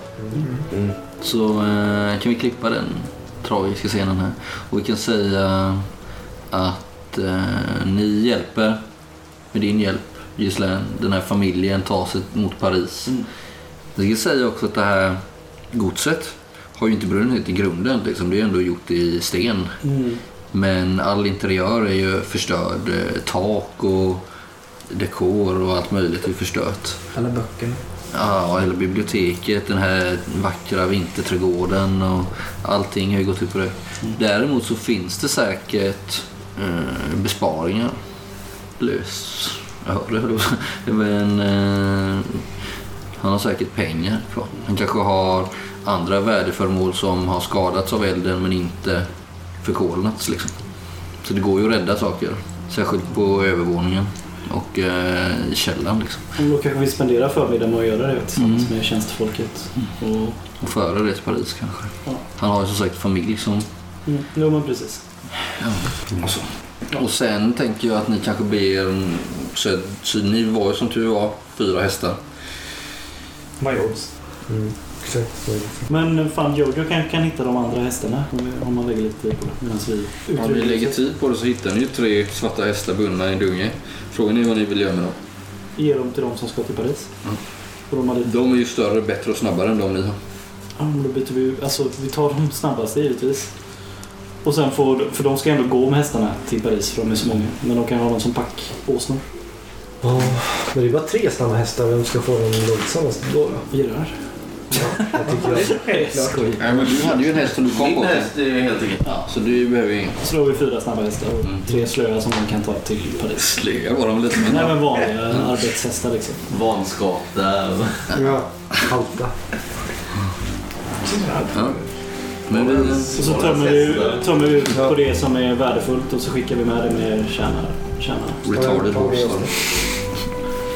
Speaker 2: Så eh, kan vi klippa den tragiska scenen här. Och vi kan säga att eh, ni hjälper, med din hjälp Gislaine, den här familjen tar sig mot Paris. Jag ska säga också att det här godset har ju inte brunnit i grunden. Liksom. Det är ju ändå gjort i sten.
Speaker 5: Mm.
Speaker 2: Men all interiör är ju förstörd. eh, Tak och dekor och allt möjligt är förstört.
Speaker 9: Alla böckerna.
Speaker 2: Ja, och hela biblioteket, den här vackra vinterträdgården och allting har ju gått upp på det. Däremot så finns det säkert eh, besparingar. Lös... Jag hörde det. då. Men eh, han har säkert pengar kvar. Han kanske har andra värdeföremål som har skadats av elden men inte förkolnats liksom. Så det går ju att rädda saker. Särskilt på övervåningen och eh, i källaren liksom.
Speaker 5: Och Då kanske vi spenderar förmiddagen med att göra det tillsammans med tjänstefolket. Och,
Speaker 2: Och före det till Paris kanske.
Speaker 5: Ja.
Speaker 2: Han har ju som sagt familj som...
Speaker 5: mm, jo, men precis.
Speaker 2: Och, så. och sen tänker jag att ni kanske ber... om- Så, så ni var ju som tur var fyra hästar.
Speaker 9: Vad odds?
Speaker 8: Mm. Exakt.
Speaker 5: Men fan, Jojo kan, kan hitta de andra hästarna om man lägger lite tid på det. Medan vi
Speaker 2: Om ni
Speaker 5: utreder.
Speaker 2: lägger tid på det så hittar ni ju tre svarta hästar bundna i en dunge. Frågan är vad ni vill göra med dem.
Speaker 5: Ge dem till de som ska till Paris.
Speaker 2: Mm.
Speaker 5: Och de hade...
Speaker 2: De är ju större, bättre och snabbare än de ni har.
Speaker 5: Ja, men då byter vi Alltså, vi tar de snabbaste givetvis. Och sen får... För de ska ändå gå med hästarna till Paris för de är så många. Men de kan ha dem som packåsnor.
Speaker 8: Ja, men det är bara tre snabba hästar. Vem ska få den långsammaste då? då?
Speaker 5: Girar.
Speaker 8: Jag tycker
Speaker 5: Skoj.
Speaker 2: Nej, men du hade ju en häst som du kom på.
Speaker 3: Det är helt enkelt.
Speaker 2: Ja, så du behöver ju ingen.
Speaker 5: Så då har vi fyra snabba hästar och tre slöa som de kan ta till Paris.
Speaker 2: Slöa var de lite men...
Speaker 5: Nej men vanliga arbetshästar liksom.
Speaker 3: Vanskapta.
Speaker 8: jag. Ja, halta.
Speaker 2: Ja. Men vi...
Speaker 5: Och så tömmer vi, tömmer vi ut på det som är värdefullt och så skickar vi med det med kärnan. kärnan.
Speaker 2: Retarded
Speaker 8: Ja,
Speaker 2: horse.
Speaker 8: ja.
Speaker 2: var det.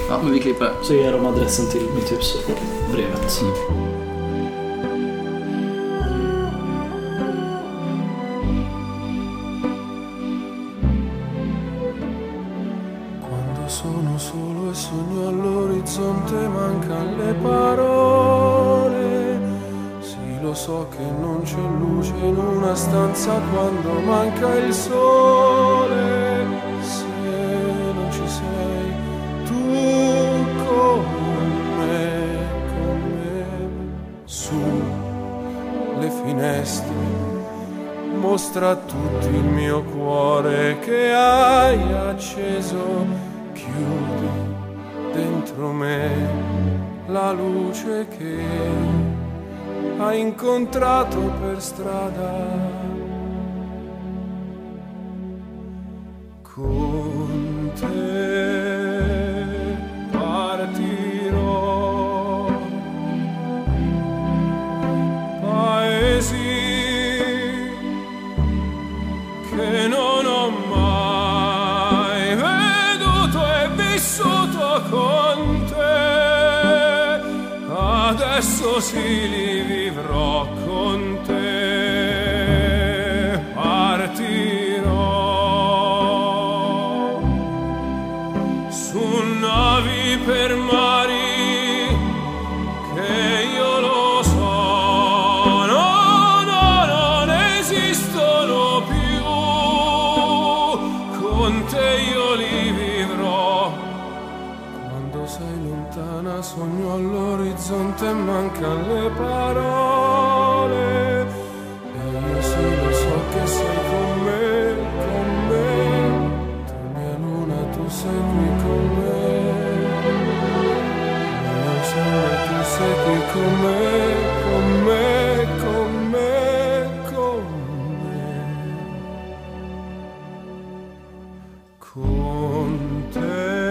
Speaker 2: Ja, men vi klipper det.
Speaker 5: Så ger de adressen till mitt hus och brevet.
Speaker 11: Quando sono solo e sogno all'orizzonte mancano le parole,
Speaker 9: so che non c'è luce in una stanza quando manca il sole. Se non ci sei tu con me, con me, su le finestre. Mostra a tutti il mio cuore che hai acceso, chiudi dentro me la luce che hai incontrato per strada. Con te partirò, paesi che non ho mai veduto e vissuto con te. Adesso sì li vivrò con te. Partirò su navi per mari che io lo so no, no, non esistono più. Con te io li vivrò quando sei lontana sogno all'orizzonte e mancano le parole E io sì lo so che sei con me, con me Tu mia luna, tu sei qui con me Mia luna, tu sei qui con me, con me, con me, con me Con te
Speaker 5: e